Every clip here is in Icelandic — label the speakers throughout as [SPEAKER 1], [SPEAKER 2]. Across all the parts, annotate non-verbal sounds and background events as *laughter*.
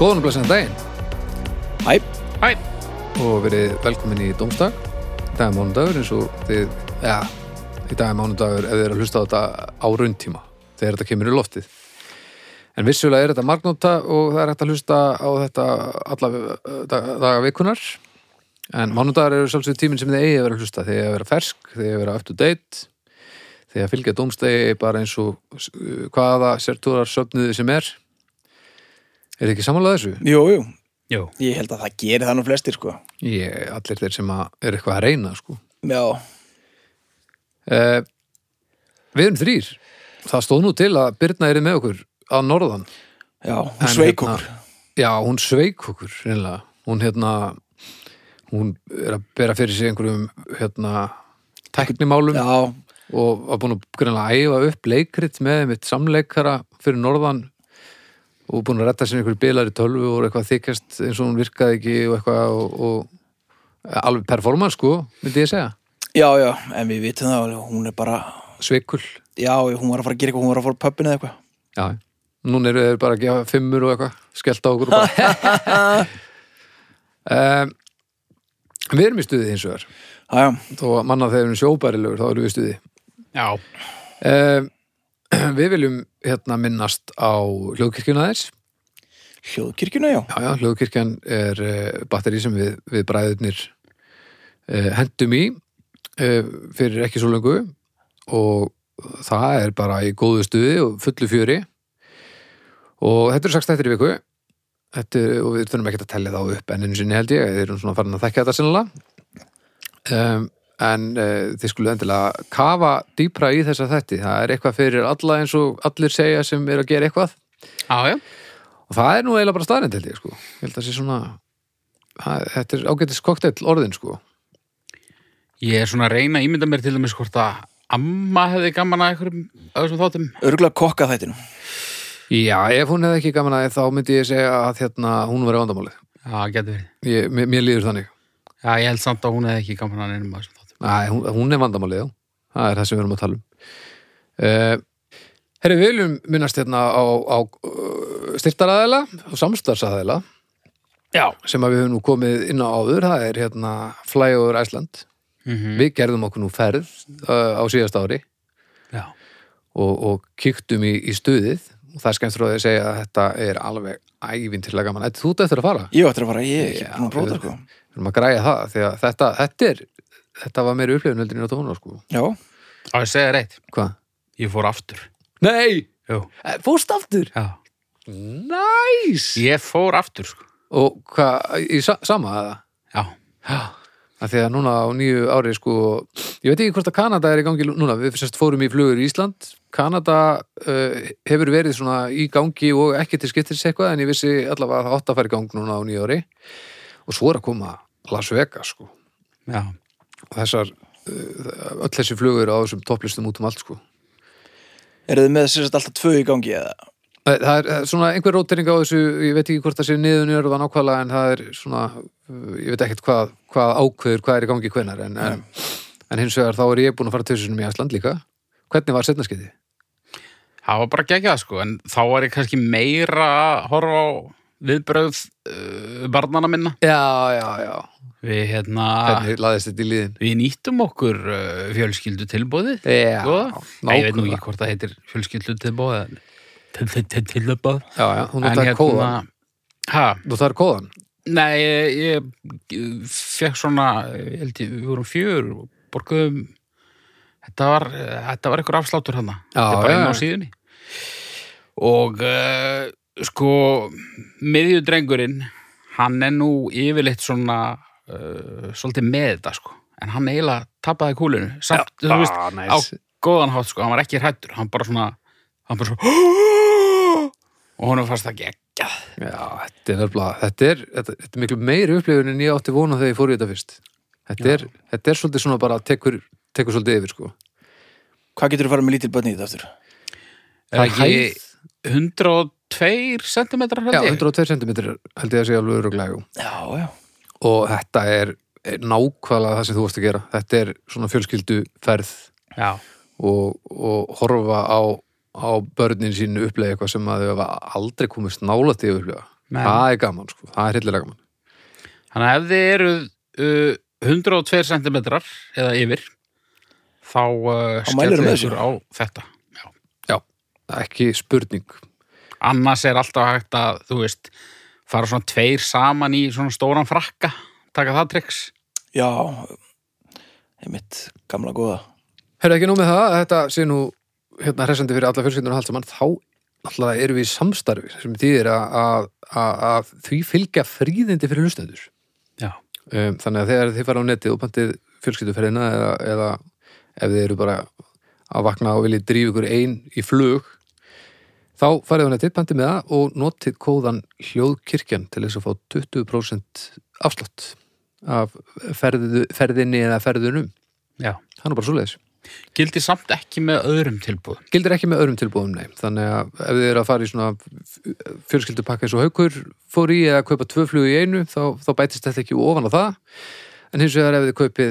[SPEAKER 1] Góðan og blessaðan daginn
[SPEAKER 2] Hæ,
[SPEAKER 1] Hæ Og verið velkomin í Dómstag Dag er mánudagur eins og þið Já, í dag er mánudagur ef þið er að hlusta á þetta á rauntíma Þegar þetta kemur í loftið En vissulega er þetta margnóta og það er hægt að hlusta á þetta alla eh, daga, daga vikunar En mánudagur eru sjálfsög tíminn sem þið eigi að vera að hlusta Þið eigi að vera fersk, þið eigi að vera up to date Þið eigi að fylgja dómstegi bara eins og eh, hvaða sértúrar söfniði sem er Er þið ekki samanlega þessu?
[SPEAKER 2] jú, jú,
[SPEAKER 3] Jú,
[SPEAKER 2] ég held að það gerir það nú flestir sko
[SPEAKER 1] Ég, allir þeir sem að, er eitthvað að reyna sko.
[SPEAKER 2] Já,
[SPEAKER 1] eh, Við erum þrýr Það stóð nú til að Birna er með okkur að norðan
[SPEAKER 2] já,
[SPEAKER 1] En
[SPEAKER 2] hún sveik okkur
[SPEAKER 1] hérna, Já, hún sveik okkur reynilega. Hún hérna hún er að bera fyrir sig einhverjum hérna tæknimálum
[SPEAKER 2] Já,
[SPEAKER 1] og var búin að greinlega æfa upp leikrit með mitt samleikara fyrir norðan og búin að retta sér einhverju bilar í tölvu og eitthvað þykjast eins og hún virkaði ekki og eitthvað og, og alveg performance sko, myndi ég segja
[SPEAKER 2] já, já, en við vitum það alveg, hún er bara
[SPEAKER 1] sveikul
[SPEAKER 2] Já, hún var að fara að gera eitthvað, hún var að fara á pöppinu eða eitthvað
[SPEAKER 1] Já, núna eru þeir bara að gefa fimmur og eitthvað, skellt á okkur og bara um, Við erum í stuði hins vegar
[SPEAKER 2] Já, já,
[SPEAKER 1] þó að manna þegar við erum sjóbærilegur þá erum við í stuði
[SPEAKER 3] já,
[SPEAKER 1] um, *clears throat* Við viljum hérna minnast á hljóðkirkjuna þess
[SPEAKER 2] hljóðkirkjuna, já
[SPEAKER 1] Já, já, hljóðkirkjan er uh, batteri sem við, við bræðurnir uh, hendum í uh, fyrir ekki svo lengu og það er bara í góðu stuði og fullu fjöri og þetta eru sagt þetta í viku þetta, er- og við þurfum ekki að tellja þá upp enn einu sinni held ég, við erum svona farin að þekka þetta sinnilega um, en uh, þið skulu endilega kafa dýpra í þessa þetti, það er eitthvað fyrir alla eins og allir segja sem er að gera eitthvað
[SPEAKER 3] já, já.
[SPEAKER 1] og það er nú eiginlega bara staðrind held ég sko ég held að sé svona það, þetta er ágætis kokteill orðin sko
[SPEAKER 3] Ég er svona að reyna að ímynda mér til dæmis hvort að amma hefði gaman að einhverjum af þessum þáttum.
[SPEAKER 2] Örgulega kokka þættinu
[SPEAKER 1] já, ef hún hefði ekki gaman að því, þá myndi ég segja að hérna, hún var í vandamálið
[SPEAKER 3] Já, getur verið.
[SPEAKER 1] ég, mér, mér líður þannig
[SPEAKER 3] Já, ég held samt að hún hefði ekki gaman að einum af þessum þáttum.
[SPEAKER 1] Æ, hún, hún er vandamálið, já það er það sem við erum að tala um uh, herri, við viljum minnast hérna á, á uh, styrtaraðela og samstarfsaðela
[SPEAKER 3] Já.
[SPEAKER 1] sem að við höfum nú komið inn á áður það er hérna Flyover Iceland
[SPEAKER 3] Mm
[SPEAKER 1] við gerðum okkur nú ferð uh, á síðast ári
[SPEAKER 3] Já.
[SPEAKER 1] og, og kíktum í, í stuðið og það er skemmt frá því að segja að þetta er alveg ævintilega gaman. Þetta þú ert eftir að fara
[SPEAKER 2] Ég ætti að fara, ég er ekki
[SPEAKER 1] Já,
[SPEAKER 2] búin að prófa
[SPEAKER 1] auðvitað.
[SPEAKER 2] það sko
[SPEAKER 1] við erum að græja það því að þetta, þetta er þetta var meiri upplifun heldur en á tónu sko.
[SPEAKER 2] Já,
[SPEAKER 3] Á, ég segi það reitt.
[SPEAKER 1] Hvað?
[SPEAKER 3] Ég fór aftur.
[SPEAKER 1] Nei!
[SPEAKER 3] Jú.
[SPEAKER 1] Fórst aftur?
[SPEAKER 3] Já.
[SPEAKER 1] Næs!
[SPEAKER 3] Ég fór aftur, sko.
[SPEAKER 1] Og hvað, í sa sama aða?
[SPEAKER 3] Já.
[SPEAKER 1] að því að núna á nýju ári sko, ég veit ekki hvort að Kanada er í gangi núna, við sérst fórum í flugur í Ísland Kanada uh, hefur verið svona í gangi og ekki til skiptis eitthvað en ég vissi allavega að það átt að fara í gang núna á nýju ári og svo er að koma Las Vegas sko
[SPEAKER 3] Já.
[SPEAKER 1] og þessar, uh, öll þessi flugur á þessum topplistum út um allt sko
[SPEAKER 2] eru þið með sér sett alltaf tvö í gangi eða
[SPEAKER 1] Nei, Það er eh, svona einhver rótering á þessu, ég veit ekki hvort það sé niðunjörð og nákvæmlega en það er svona, uh, ég veit ekkert hvað, hvað ákveður, hvað er í gangi hvenar en, en, en hins vegar þá er ég búin að fara tvissunum í Æsland líka. Hvernig var setnaskeiði?
[SPEAKER 3] Það var bara geggjað, sko. En þá var ég kannski meira að horfa á viðbröð uh, barnana minna.
[SPEAKER 1] Já, já, já.
[SPEAKER 3] Við, hérna,
[SPEAKER 1] Hvernig laðist þetta í liðin?
[SPEAKER 3] við nýttum okkur uh, fjölskyldu tilbúðið.
[SPEAKER 1] Já,
[SPEAKER 3] Góða? Sko? Nei, ég veit nú
[SPEAKER 1] nákvæmlega.
[SPEAKER 3] ekki hvort það heitir fjölskyldu tilbóð tilbóð
[SPEAKER 1] Já, já, hún
[SPEAKER 3] en
[SPEAKER 1] notar hérna... kóðan.
[SPEAKER 3] ha,
[SPEAKER 1] Notar kóðan?
[SPEAKER 3] nei, ég, ég fekk svona ég held ég, við vorum fjör og borguðum þetta var, þetta var einhver afsláttur hann þetta er bara
[SPEAKER 1] já,
[SPEAKER 3] inn á
[SPEAKER 1] já.
[SPEAKER 3] síðunni og uh, sko miðjudrengurinn hann er nú yfirleitt svona uh, svolítið með þetta sko en hann eiginlega tapaði kúlinu samt, þú veist,
[SPEAKER 1] ah,
[SPEAKER 3] á góðan hátt sko, hann var ekki hrættur hann bara svona, hann bara svona *gasps* og honum fannst það geggjað
[SPEAKER 1] Já, þetta er nefnilega, þetta er, þetta, þetta er miklu meiri upplifun en ég átti vona þegar ég fór í þetta fyrst. Þetta
[SPEAKER 3] Já.
[SPEAKER 1] er, þetta er svolítið svona bara tekur, tekur svolítið yfir sko.
[SPEAKER 2] Hvað getur þið farið með lítil bönni í þetta aftur?
[SPEAKER 1] Það er
[SPEAKER 3] ekki
[SPEAKER 1] hæð.
[SPEAKER 3] 102 cm
[SPEAKER 1] Já,
[SPEAKER 3] hrætti
[SPEAKER 1] 102 cm held ég að segja alveg öruglega jú.
[SPEAKER 2] Já, já,
[SPEAKER 1] og þetta er, er nákvæmlega það sem þú varst að gera þetta er svona fjölskyldu ferð
[SPEAKER 3] já,
[SPEAKER 1] og, og horfa á, á börnin sín upplega eitthvað sem að þau hafa aldrei komist nálætt í að upplega
[SPEAKER 3] Men,
[SPEAKER 1] það er gaman sko, það er hillilega gaman
[SPEAKER 3] Þannig að ef þið eru uh, 102 cm eða yfir þá uh,
[SPEAKER 2] Þá mælirðu
[SPEAKER 3] skellið
[SPEAKER 2] með
[SPEAKER 3] ykkur á þetta Já.
[SPEAKER 1] Það er ekki spurning
[SPEAKER 3] annars er alltaf hægt að þú veist, fara svona tveir saman í svona stóran frakka taka það triks
[SPEAKER 2] Já, einmitt gamla góða.
[SPEAKER 1] Herra ekki nú með það, að þetta sé nú hérna hressandi fyrir alla fjölskyldunar og allt saman þá alltaf erum við í samstarfi sem þýðir að- að að- að því fylgja fríðindi fyrir hlustendur
[SPEAKER 3] Já.
[SPEAKER 1] um, þannig að þegar þið fara á netið og pantið fjölskylduferðina eða, eða ef þið eru bara að vakna og viljið drífa ykkur ein í flug þá farið á netið, pantið með það og notið kóðan hljóðkirkjan til þess að fá 20% afslátt af ferðu, ferðinni eða ferðunum
[SPEAKER 3] Já.
[SPEAKER 1] hann er bara svoleiðis
[SPEAKER 3] gildi samt ekki með öðrum tilbúðum
[SPEAKER 1] gildir ekki með öðrum tilbúðum, nei þannig að ef þið eru að fara í svona fjölskyldupakka eins og haukur fór í eða kaupa tvö flug í einu þá, þá bætist þetta ekki ofan á það en hins vegar ef þið kaupið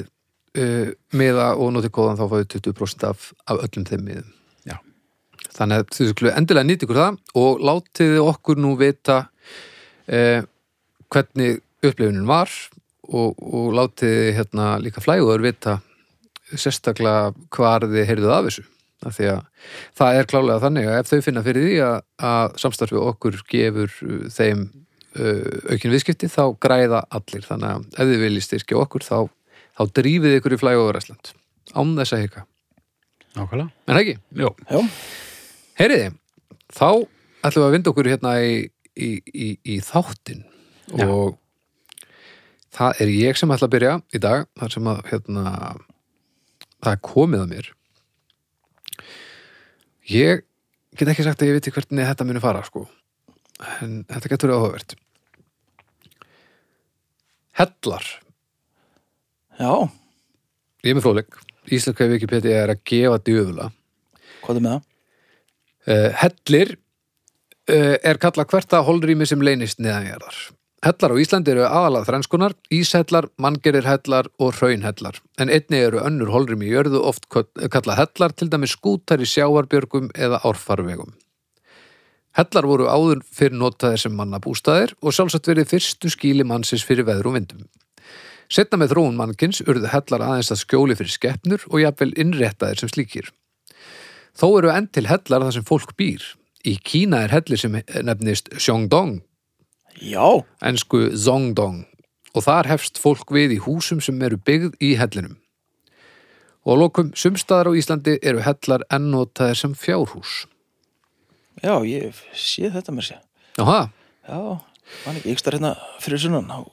[SPEAKER 1] uh, miða og notið góðan þá fáið 20% af, af öllum þeim miðum
[SPEAKER 3] Já.
[SPEAKER 1] þannig að þið skulle endilega nýtt ykkur það og látið þið okkur nú vita uh, hvernig upplifunin var og, og látið þið hérna líka flægur vita sérstaklega hvar þið heyrðuð af þessu af því að það er klálega þannig að ef þau finna fyrir því að, að samstarfið okkur gefur uh, þeim uh, aukin viðskipti þá græða allir þannig að ef þið viljið styrkja okkur þá, þá drífið ykkur í flæg over Ísland án þess að hika,
[SPEAKER 3] Nákvæmlega
[SPEAKER 1] en ekki
[SPEAKER 3] Jó.
[SPEAKER 2] Já,
[SPEAKER 1] heyriði, þá ætlum við að vinda okkur hérna í, í, í, í þáttin
[SPEAKER 3] Já.
[SPEAKER 1] og það er ég sem ætla að byrja í dag þar sem að hérna það er komið að mér ég get ekki sagt að ég viti hvernig þetta muni fara sko en þetta getur verið áhugavert Hellar
[SPEAKER 2] já,
[SPEAKER 1] ég er með fróðleik Íslenska Wikipedia er að gefa djöfula
[SPEAKER 2] hvað er með það?
[SPEAKER 1] Uh, hellir uh, er kallað hvert að holrými sem leynist neðanjarðar. Hellar á Íslandi eru aðalað þrenskunar, íshellar, manngerir hellar og hraunhellar. En einni eru önnur holrými í jörðu oft köll- kallað hellar, til dæmis skútar í sjáarbjörgum eða árfarvegum. Hellar voru áður fyrir notaðir sem mannabústaðir og sjálfsagt verið fyrstu skíli mannsins fyrir veður og vindum. Setna með þróun mannkins urðu hellar aðeins að skjóli fyrir skeppnur og jafnvel innréttaðir sem slíkir. Þó eru enn til hellar þar sem fólk býr. Í Kína er hellir sem nefnist Sjóngdong,
[SPEAKER 2] Já,
[SPEAKER 1] ensku Zongdong, og þar hefst fólk við í húsum sem eru byggð í hellinum. Og að lokum, sumstaðar á Íslandi eru hellar ennotaðir sem fjárhús.
[SPEAKER 2] já, ég sé þetta mér sé.
[SPEAKER 1] Jáha,
[SPEAKER 2] Já, mann ekki, ég star hérna fyrir sunnan á,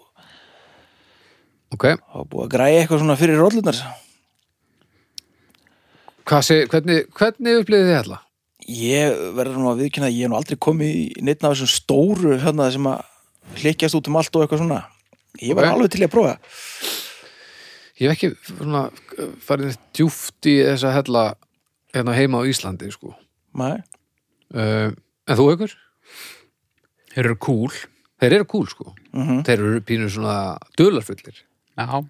[SPEAKER 2] á
[SPEAKER 1] ok.
[SPEAKER 2] búið að græja eitthvað svona fyrir rollunar.
[SPEAKER 1] Hvað Sé, hvernig, hvernig upplýði þið hella?
[SPEAKER 2] Ég verður nú að viðkynna að ég hef nú aldrei komið í neitt af þessum stóru hérna sem að hlikjast út um allt og eitthvað svona. Ég var
[SPEAKER 1] Ok.
[SPEAKER 2] alveg til í að prófa.
[SPEAKER 1] Ég hef ekki svona, eh, farið neitt djúft í þessa hella hérna heima á Íslandi, sko.
[SPEAKER 2] Nei,
[SPEAKER 1] Uh, en þú aukur?
[SPEAKER 3] Þeir eru cool
[SPEAKER 1] Þeir eru kúl, sko.
[SPEAKER 2] mhm,
[SPEAKER 1] Þeir eru pínu svona dularfullir.
[SPEAKER 3] Já,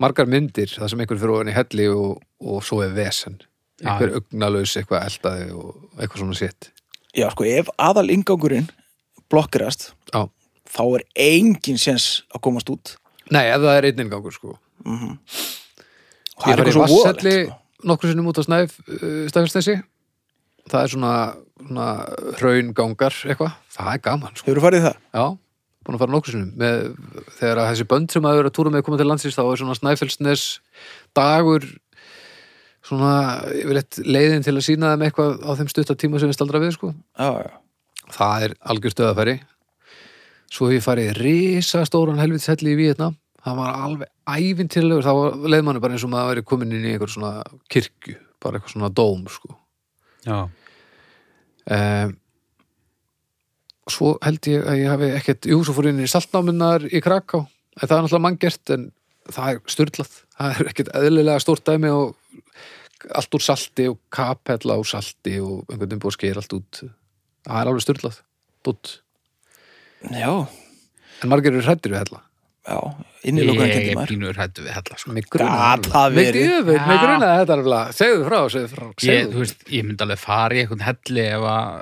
[SPEAKER 1] margar myndir þar sem einhver fyrir ofan í helli og, og svo er vesen
[SPEAKER 3] Já,
[SPEAKER 1] einhver augnalaus eitthvað eldaði og eitthvað svona sitt
[SPEAKER 2] Já, sko, ef aðal ingangurinn blokkirast,
[SPEAKER 1] Já.
[SPEAKER 2] þá er engin sens að komast út.
[SPEAKER 1] Nei, ef það er einn inngangur sko
[SPEAKER 2] Og Það
[SPEAKER 1] Ég
[SPEAKER 2] er eitthvað
[SPEAKER 1] fari í
[SPEAKER 2] svo
[SPEAKER 1] vatnshelli
[SPEAKER 2] voðalegt, sko.
[SPEAKER 1] nokkru sinnum út á snæf uh, snæfistessi það er svona, svona hraungangar eitthvað, það er gaman sko
[SPEAKER 2] Hefur þú farið í það?
[SPEAKER 1] Já, búin að fara nokkru sinnum með, þegar að þessi bönd sem að vera að túra með koma til landsins þá er svona snæfellsnes dagur svona yfirleitt leiðin til að sína þeim eitthvað á þeim stutta tíma sem við staldra við sko
[SPEAKER 2] Já, já.
[SPEAKER 1] það er algjör stöðafæri svo hef ég farið risastóran helvitshelli í Vietnam það var alveg ævintýrlegur þá var- leið manni bara eins og maður væri komin inn í einhver svona kirkju, bara eitthvað svona dóm sko.
[SPEAKER 3] já
[SPEAKER 1] um, svo held ég að ég hafi ekkert jú, svo fór ég inn í saltnáminnar í Kraká en það er náttúrulega manngert en það er styrlað, það er ekkert eðlilega stórt dæmi og allt úr salti og kapella úr salti og einhvern veginn búið að skera allt út það er alveg styrlað, dútt
[SPEAKER 2] Já,
[SPEAKER 1] En margir eru hrættir við hella.
[SPEAKER 2] já,
[SPEAKER 3] Ég
[SPEAKER 2] innilokunan
[SPEAKER 3] er
[SPEAKER 2] kendur maður.
[SPEAKER 3] pínur hættu við hella sko.
[SPEAKER 1] Mig
[SPEAKER 2] Gat það
[SPEAKER 1] Mig
[SPEAKER 2] verið.
[SPEAKER 1] grunnar, mig
[SPEAKER 3] Já.
[SPEAKER 1] grunnar þetta er alveg. Segðu frá, segðu frá.
[SPEAKER 3] ég,
[SPEAKER 1] Segðu.
[SPEAKER 3] þú veist, ég eh, myndi alveg fara í eitthvað helli ef að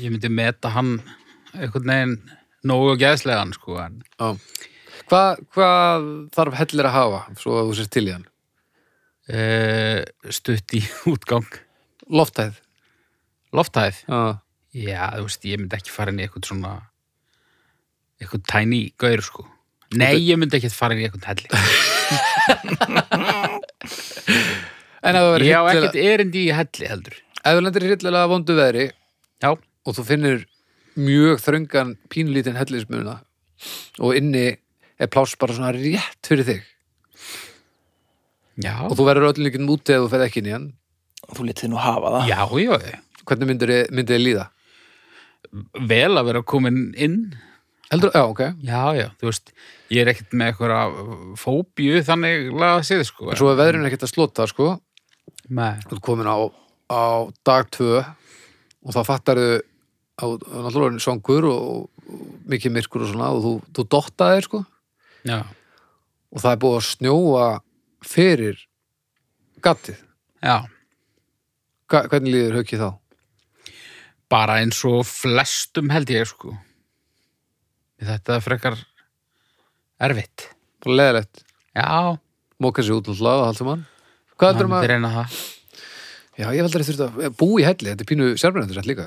[SPEAKER 3] ég myndi meta hann eitthvað neginn nógu geðslegan sko en
[SPEAKER 1] Hvað hvað þarf hellir að hafa svo að þú sérst til í hann?
[SPEAKER 3] uh, stutt í *laughs* útgang
[SPEAKER 1] Loftæð
[SPEAKER 3] loftæð
[SPEAKER 1] Já,
[SPEAKER 3] já þú veist ég myndi ekki fara inn í eitthvað svona eitthvað tæni gaur sko nei ég myndi ekki fara inn í eitthvað helli
[SPEAKER 1] En ef þú verður
[SPEAKER 3] ég á ekkert
[SPEAKER 1] hryllilega-
[SPEAKER 3] erindi í helli heldur
[SPEAKER 1] ef þú lendir í hryllilega vondu veðri
[SPEAKER 3] já
[SPEAKER 1] og þú finnir mjög þröngan pínlítinn hellismuna og inni er pláss bara svona rétt fyrir þig
[SPEAKER 3] já
[SPEAKER 1] og þú verður öllum líkinn úti eða þú ferð ekki inn í hann
[SPEAKER 2] Þú letið nú hafa það
[SPEAKER 3] já já
[SPEAKER 1] hvernig myndir þið líða?
[SPEAKER 3] vel að vera komin inn
[SPEAKER 1] Heldur, já, ok
[SPEAKER 3] Já, já, þú veist, ég er ekkert með eitthvað fóbíu þannig laga séð, sko.
[SPEAKER 1] En svo er veðrun ekkert að slota, sko
[SPEAKER 3] Nei.
[SPEAKER 1] Þú ert komin á, á dag tvö og þá fattarðu að þú er náttúrulega svangur og, og, og mikið myrkur og svona og þú, þú dottaðir, sko
[SPEAKER 3] Já,
[SPEAKER 1] og það er búið að snjóa fyrir gattið
[SPEAKER 3] já,
[SPEAKER 1] Hva, Hvernig líður haukið þá?
[SPEAKER 3] bara eins og flestum held ég, sko. Þetta er frekar erfitt.
[SPEAKER 1] Bara leðalegt
[SPEAKER 3] Já,
[SPEAKER 1] móka sér út um alltaf og haldum hann hvað heldur
[SPEAKER 3] maður
[SPEAKER 1] maður?
[SPEAKER 3] reyna það.
[SPEAKER 1] Já, ég heldur að þurfti að eh, búa í helli, þetta er pínu sérbrenndisett líka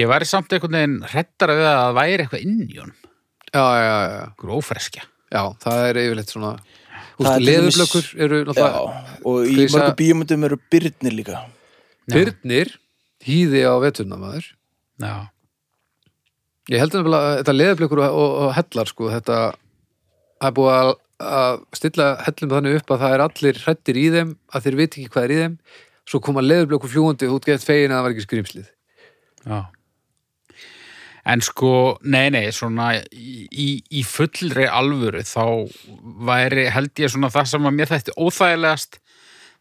[SPEAKER 3] Ég væri samt einhvern veginn hrettara við að það væri eitthvað inn í honum,
[SPEAKER 1] Já, já, já, já,
[SPEAKER 3] einhver ófreskja.
[SPEAKER 1] já, það er yfirleitt svona
[SPEAKER 2] Það er til dæmis-
[SPEAKER 1] Leðurblökkur eru
[SPEAKER 2] Já,
[SPEAKER 1] náttúrulega
[SPEAKER 2] og í
[SPEAKER 1] Krisa-
[SPEAKER 2] mörgum bíómyndum eru byrnir líka
[SPEAKER 1] Byrnir hýði á veturna maður
[SPEAKER 3] Já,
[SPEAKER 1] Ég heldur nefnilega að þetta leðurblökkur og, og, og hellar sko, þetta það er búið að, að stilla hellum þannig upp að það er allir hrættir í þeim að þeir viti ekki hvað er í þeim svo koma leðurblökkur fljúandi og þú getur fegin að það var ekki skrýmslið
[SPEAKER 3] já. En sko, nei, nei, svona í, í- í fullri alvöru þá væri, held ég svona það sem að mér þætti óþægilegast,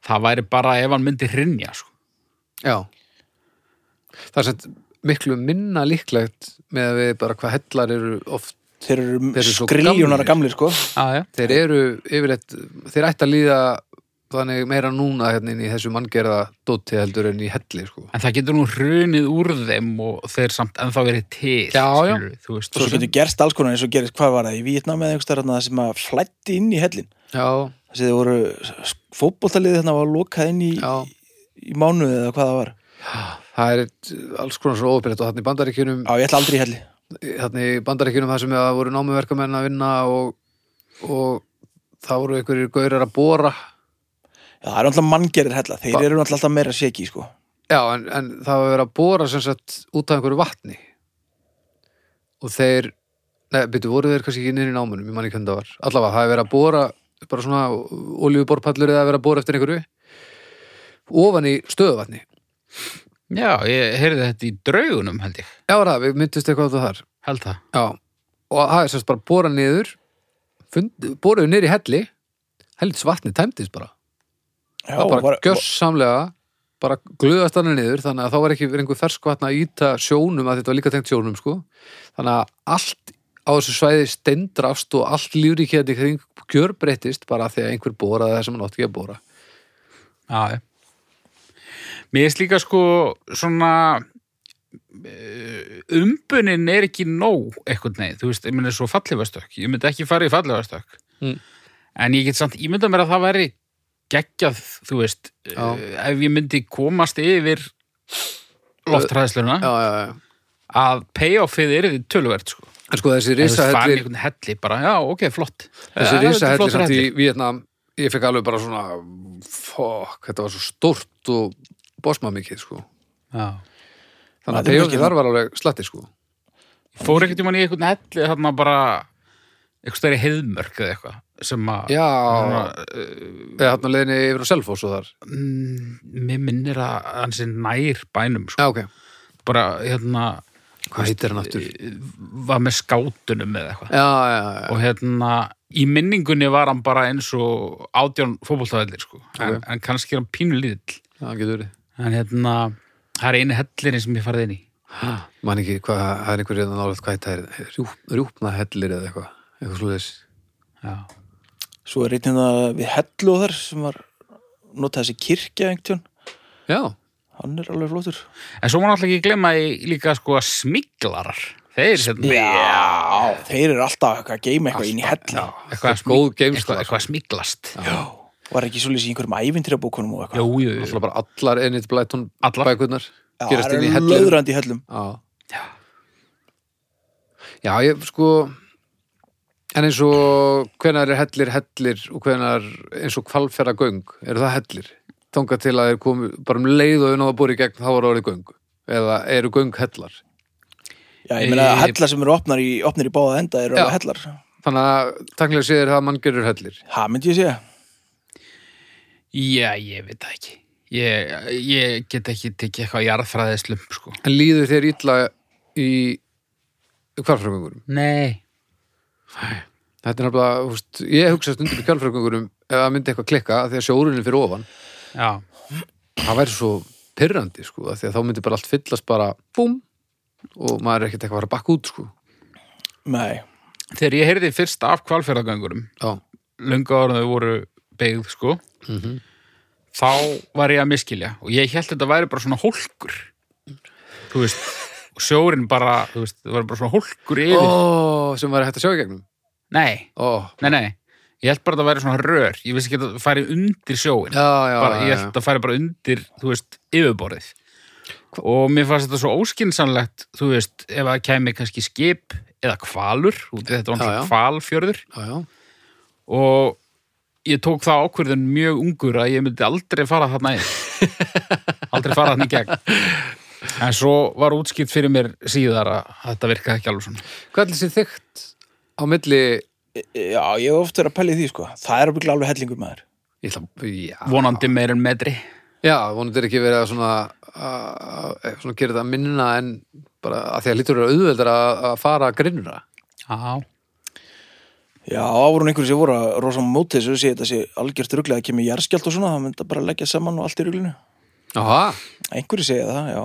[SPEAKER 3] það væri bara ef hann myndi hrinja, sko.
[SPEAKER 1] Já Það er sett miklu minna líklegt með að við bara hvað hellar eru oft
[SPEAKER 2] Þeir
[SPEAKER 1] Þeir
[SPEAKER 2] eru
[SPEAKER 1] eru svo
[SPEAKER 2] skriljónara
[SPEAKER 1] gamlir.
[SPEAKER 2] gamlir sko
[SPEAKER 3] Já, já.
[SPEAKER 1] þeir eru yfirleitt þeir ætti að líða þannig meira núna hérna inn í þessu manngerða dóti heldur en í helli sko
[SPEAKER 3] En það getur nú hrunið úr þeim og þeir samt ennþá verið til.
[SPEAKER 1] Já, já.
[SPEAKER 3] skilurðu, Þú veist,
[SPEAKER 2] og svo getur gerst alls konar eins og gerist hvað var það í Vietnam eða einhvers þarna sem að flætti inn í hellin
[SPEAKER 1] Já,
[SPEAKER 2] þess að þið voru fótboltaliðið þarna var lokað inn í,
[SPEAKER 1] já
[SPEAKER 2] í mánuði eða hvað það var
[SPEAKER 1] Það er eitt, alls konar svo óbyrðt og þannig í bandaríkjunum
[SPEAKER 2] á ég ætla aldrei í helli
[SPEAKER 1] þannig í bandaríkjunum það sem það voru námuverkamenn að vinna og, og það voru einhverjir gaurar að bóra
[SPEAKER 2] Já, það eru alltaf manngerir hella þeir
[SPEAKER 1] Ba-
[SPEAKER 2] eru náttúrulega alltaf meira seki sko
[SPEAKER 1] Já, en, en það var verið að bóra sem sagt út af einhverju vatni og þeir Nei, byrju, voru þeir kannski ekki niður í námunum, ég man ekki hvernig það var Allavega, það er verið að bóra bara svona olíuborpallur eða að vera að bóra eftir einhverju ofan í stöðuvatni
[SPEAKER 3] já, ég heyrði þetta í draugunum, held ég.
[SPEAKER 1] Já, var það, við myndist eitthvað á það þar
[SPEAKER 3] Held það.
[SPEAKER 1] Já, og það er semst bara bóra niður fund, bóraðu niður í helli hellis vatni tæmdist bara
[SPEAKER 2] Já,
[SPEAKER 1] það bara
[SPEAKER 2] var,
[SPEAKER 1] gjörsamlega bara glöðast hann niður þannig að þá var ekki verið einhver ferskvatna að íta sjónum að þetta var líka tengt sjónum sko þannig að allt á þessu svæði stendrast og allt lífríkið þetta kring gjörbreyttist bara af því að einhver boraði það sem hann átti ekki að bora
[SPEAKER 3] Já, já. Mér er líka sko svona eh, umbunin er ekki nóg eitthvað neginn, þú veist, ég myndi svo fallifastökk ég myndi ekki fara í fallifastökk
[SPEAKER 1] Mm.
[SPEAKER 3] en ég get samt ímyndað mér að það væri geggjað, þú veist
[SPEAKER 1] Já.
[SPEAKER 3] eh, ef ég myndi komast yfir loftræðsluna
[SPEAKER 1] já, já, já.
[SPEAKER 3] að payoffið er því töluvert sko.
[SPEAKER 1] en sko þessi
[SPEAKER 3] Ef þú farin í
[SPEAKER 1] risahellir
[SPEAKER 3] einhvern helli bara, já, ok, flott
[SPEAKER 1] þessi
[SPEAKER 3] Já, þetta er
[SPEAKER 1] risahellir
[SPEAKER 3] flottur
[SPEAKER 1] samt í
[SPEAKER 3] hellir.
[SPEAKER 1] Vietnam ég fekk alveg bara svona fokk, þetta var svo stórt og bosma mikið sko
[SPEAKER 3] Já.
[SPEAKER 1] þannig að
[SPEAKER 2] Þetta er
[SPEAKER 1] peyjókið
[SPEAKER 2] mikið.
[SPEAKER 1] þar var alveg slatti sko
[SPEAKER 3] fór ekkert í manni í einhvern helli þarna bara eitthvað stærri heiðmörk eða eitthvað sem að
[SPEAKER 1] já,
[SPEAKER 3] svona,
[SPEAKER 1] eða hann að leiðinni yfir á Selfoss og þar
[SPEAKER 3] mm, mér minnir að hann sé nær bænum sko.
[SPEAKER 1] já, ok,
[SPEAKER 3] bara hérna
[SPEAKER 1] hvað heitir hann aftur?
[SPEAKER 3] var með skátunum eða eitthvað
[SPEAKER 1] eh, já, já, já,
[SPEAKER 3] og hérna í minningunni var hann bara eins og átján fótboltavellir sko. en, en kannski er hann pínu lítill
[SPEAKER 1] já, hann getur verið
[SPEAKER 3] en hérna það er einu hellinni sem ég farið inn í
[SPEAKER 1] man ekki hvað, það er einhver reyðan álið hvað þetta er, Rjúp, rjúpna hellir eða eitthvað eitthvað slúðis,
[SPEAKER 3] já,
[SPEAKER 2] svo er einnig það við hellu og þar sem var notað þessi kirkja einhvern tjón
[SPEAKER 1] já
[SPEAKER 2] hann er alveg flottur
[SPEAKER 3] en svo má náttúrulega ekki glemma í líka sko að smiglarar Þeir hérna
[SPEAKER 2] Já, þeir eru alltaf eitthvað að geima eitthvað inn í helli
[SPEAKER 3] eitthvað, smí-
[SPEAKER 1] Góð geymsla,
[SPEAKER 3] eitthvað,
[SPEAKER 1] sko.
[SPEAKER 3] eitthvað smíklast
[SPEAKER 2] Já. Var ekki svolítið í einhverjum ævintýrabókunum og eitthvað
[SPEAKER 3] Jú, jú, jú.
[SPEAKER 1] Alltaf bara allar Enid Blyton
[SPEAKER 3] Allar.
[SPEAKER 1] bækurnar
[SPEAKER 2] Já,
[SPEAKER 1] gerast
[SPEAKER 2] það
[SPEAKER 1] inn í
[SPEAKER 2] eru
[SPEAKER 1] hellu
[SPEAKER 2] löðrandi í hellum
[SPEAKER 1] Já.
[SPEAKER 3] Já.
[SPEAKER 1] Já, ég sko en eins og hvenar er hellir hellir og hvenar eins og kvalfjara göng eru það hellir? Þanga til að þeir komu bara um leið og unnað að búri gegn þá var orðið göng eða eru göng hellar
[SPEAKER 2] Já, ég meina
[SPEAKER 3] Í-
[SPEAKER 2] að hellar sem eru opnar í, opnir í báða enda eru
[SPEAKER 1] Já.
[SPEAKER 2] alveg hellar
[SPEAKER 1] þannig að takkilega séður það manngerur hellir
[SPEAKER 2] Það myndi ég segja
[SPEAKER 3] Já, ég veit það ekki Ég, ég get ekki tekið eitthvað jarðfræðislum sko.
[SPEAKER 1] en líður þér illa í kvalfjaragöngurum?
[SPEAKER 3] Nei
[SPEAKER 1] Þetta er náttúrulega, þú veist, ég hugsa stundum í kvalfjaragöngurum ef það myndi eitthvað klikka af því að sjórunni fyrir ofan
[SPEAKER 3] Já,
[SPEAKER 1] það væri svo pyrrandi sko, af því að þá myndi bara allt fyllast bara búm og maður er ekkert eitthvað að fara að bakka út sko.
[SPEAKER 2] Nei,
[SPEAKER 3] þegar ég heyrði fyrst af kvalfjörðagöngurum
[SPEAKER 1] Já,
[SPEAKER 3] löngu ára þau voru beigð sko þá var ég að miskilja og ég held þetta væri bara svona hólkur þú veist og sjórin bara, þú veist, það var bara svona hólkur yfir
[SPEAKER 1] Ó, sem var hægt að sjá í gegnum
[SPEAKER 3] Nei,
[SPEAKER 1] Ó,
[SPEAKER 3] nei, nei ég held bara að það væri svona rör ég vissi ekki að það færi undir sjóin
[SPEAKER 1] já, já,
[SPEAKER 3] bara,
[SPEAKER 1] já,
[SPEAKER 3] ég
[SPEAKER 1] já.
[SPEAKER 3] held að færi bara undir, þú veist, yfirborðið og mér fannst þetta svo óskinsanlegt þú veist, ef að kæmi kannski skip eða kvalur, út í þetta var
[SPEAKER 1] Já, já.
[SPEAKER 3] náttúrulega kvalfjörður
[SPEAKER 1] já, já.
[SPEAKER 3] og ég tók það ákvörðun mjög ungur að ég myndi aldrei fara þarna
[SPEAKER 1] *laughs*
[SPEAKER 3] inn aldrei fara þarna í gegn en svo var útskipt fyrir mér síðar að þetta virkaði ekki alveg svona
[SPEAKER 1] Hvað er þessi þykkt á milli
[SPEAKER 2] já, ég hef oft verið að pæla í því sko Það er alveg alveg hellingur maður
[SPEAKER 1] ég ætla, já,
[SPEAKER 3] vonandi meir en metri
[SPEAKER 1] já, vonandi er ekki verið að svona, að, að- svona gera þetta minna en bara að því að lítur eru auðveldar að, að fara að grinnra
[SPEAKER 3] já,
[SPEAKER 2] Já, þá voru einhverjum sem voru að rosa móti þessu sé þetta sé algjört rugglega að kemur jarðskjald og svona það myndi bara leggja saman og allt í rugglinu
[SPEAKER 1] Aha.
[SPEAKER 2] Einhverjum segja það, já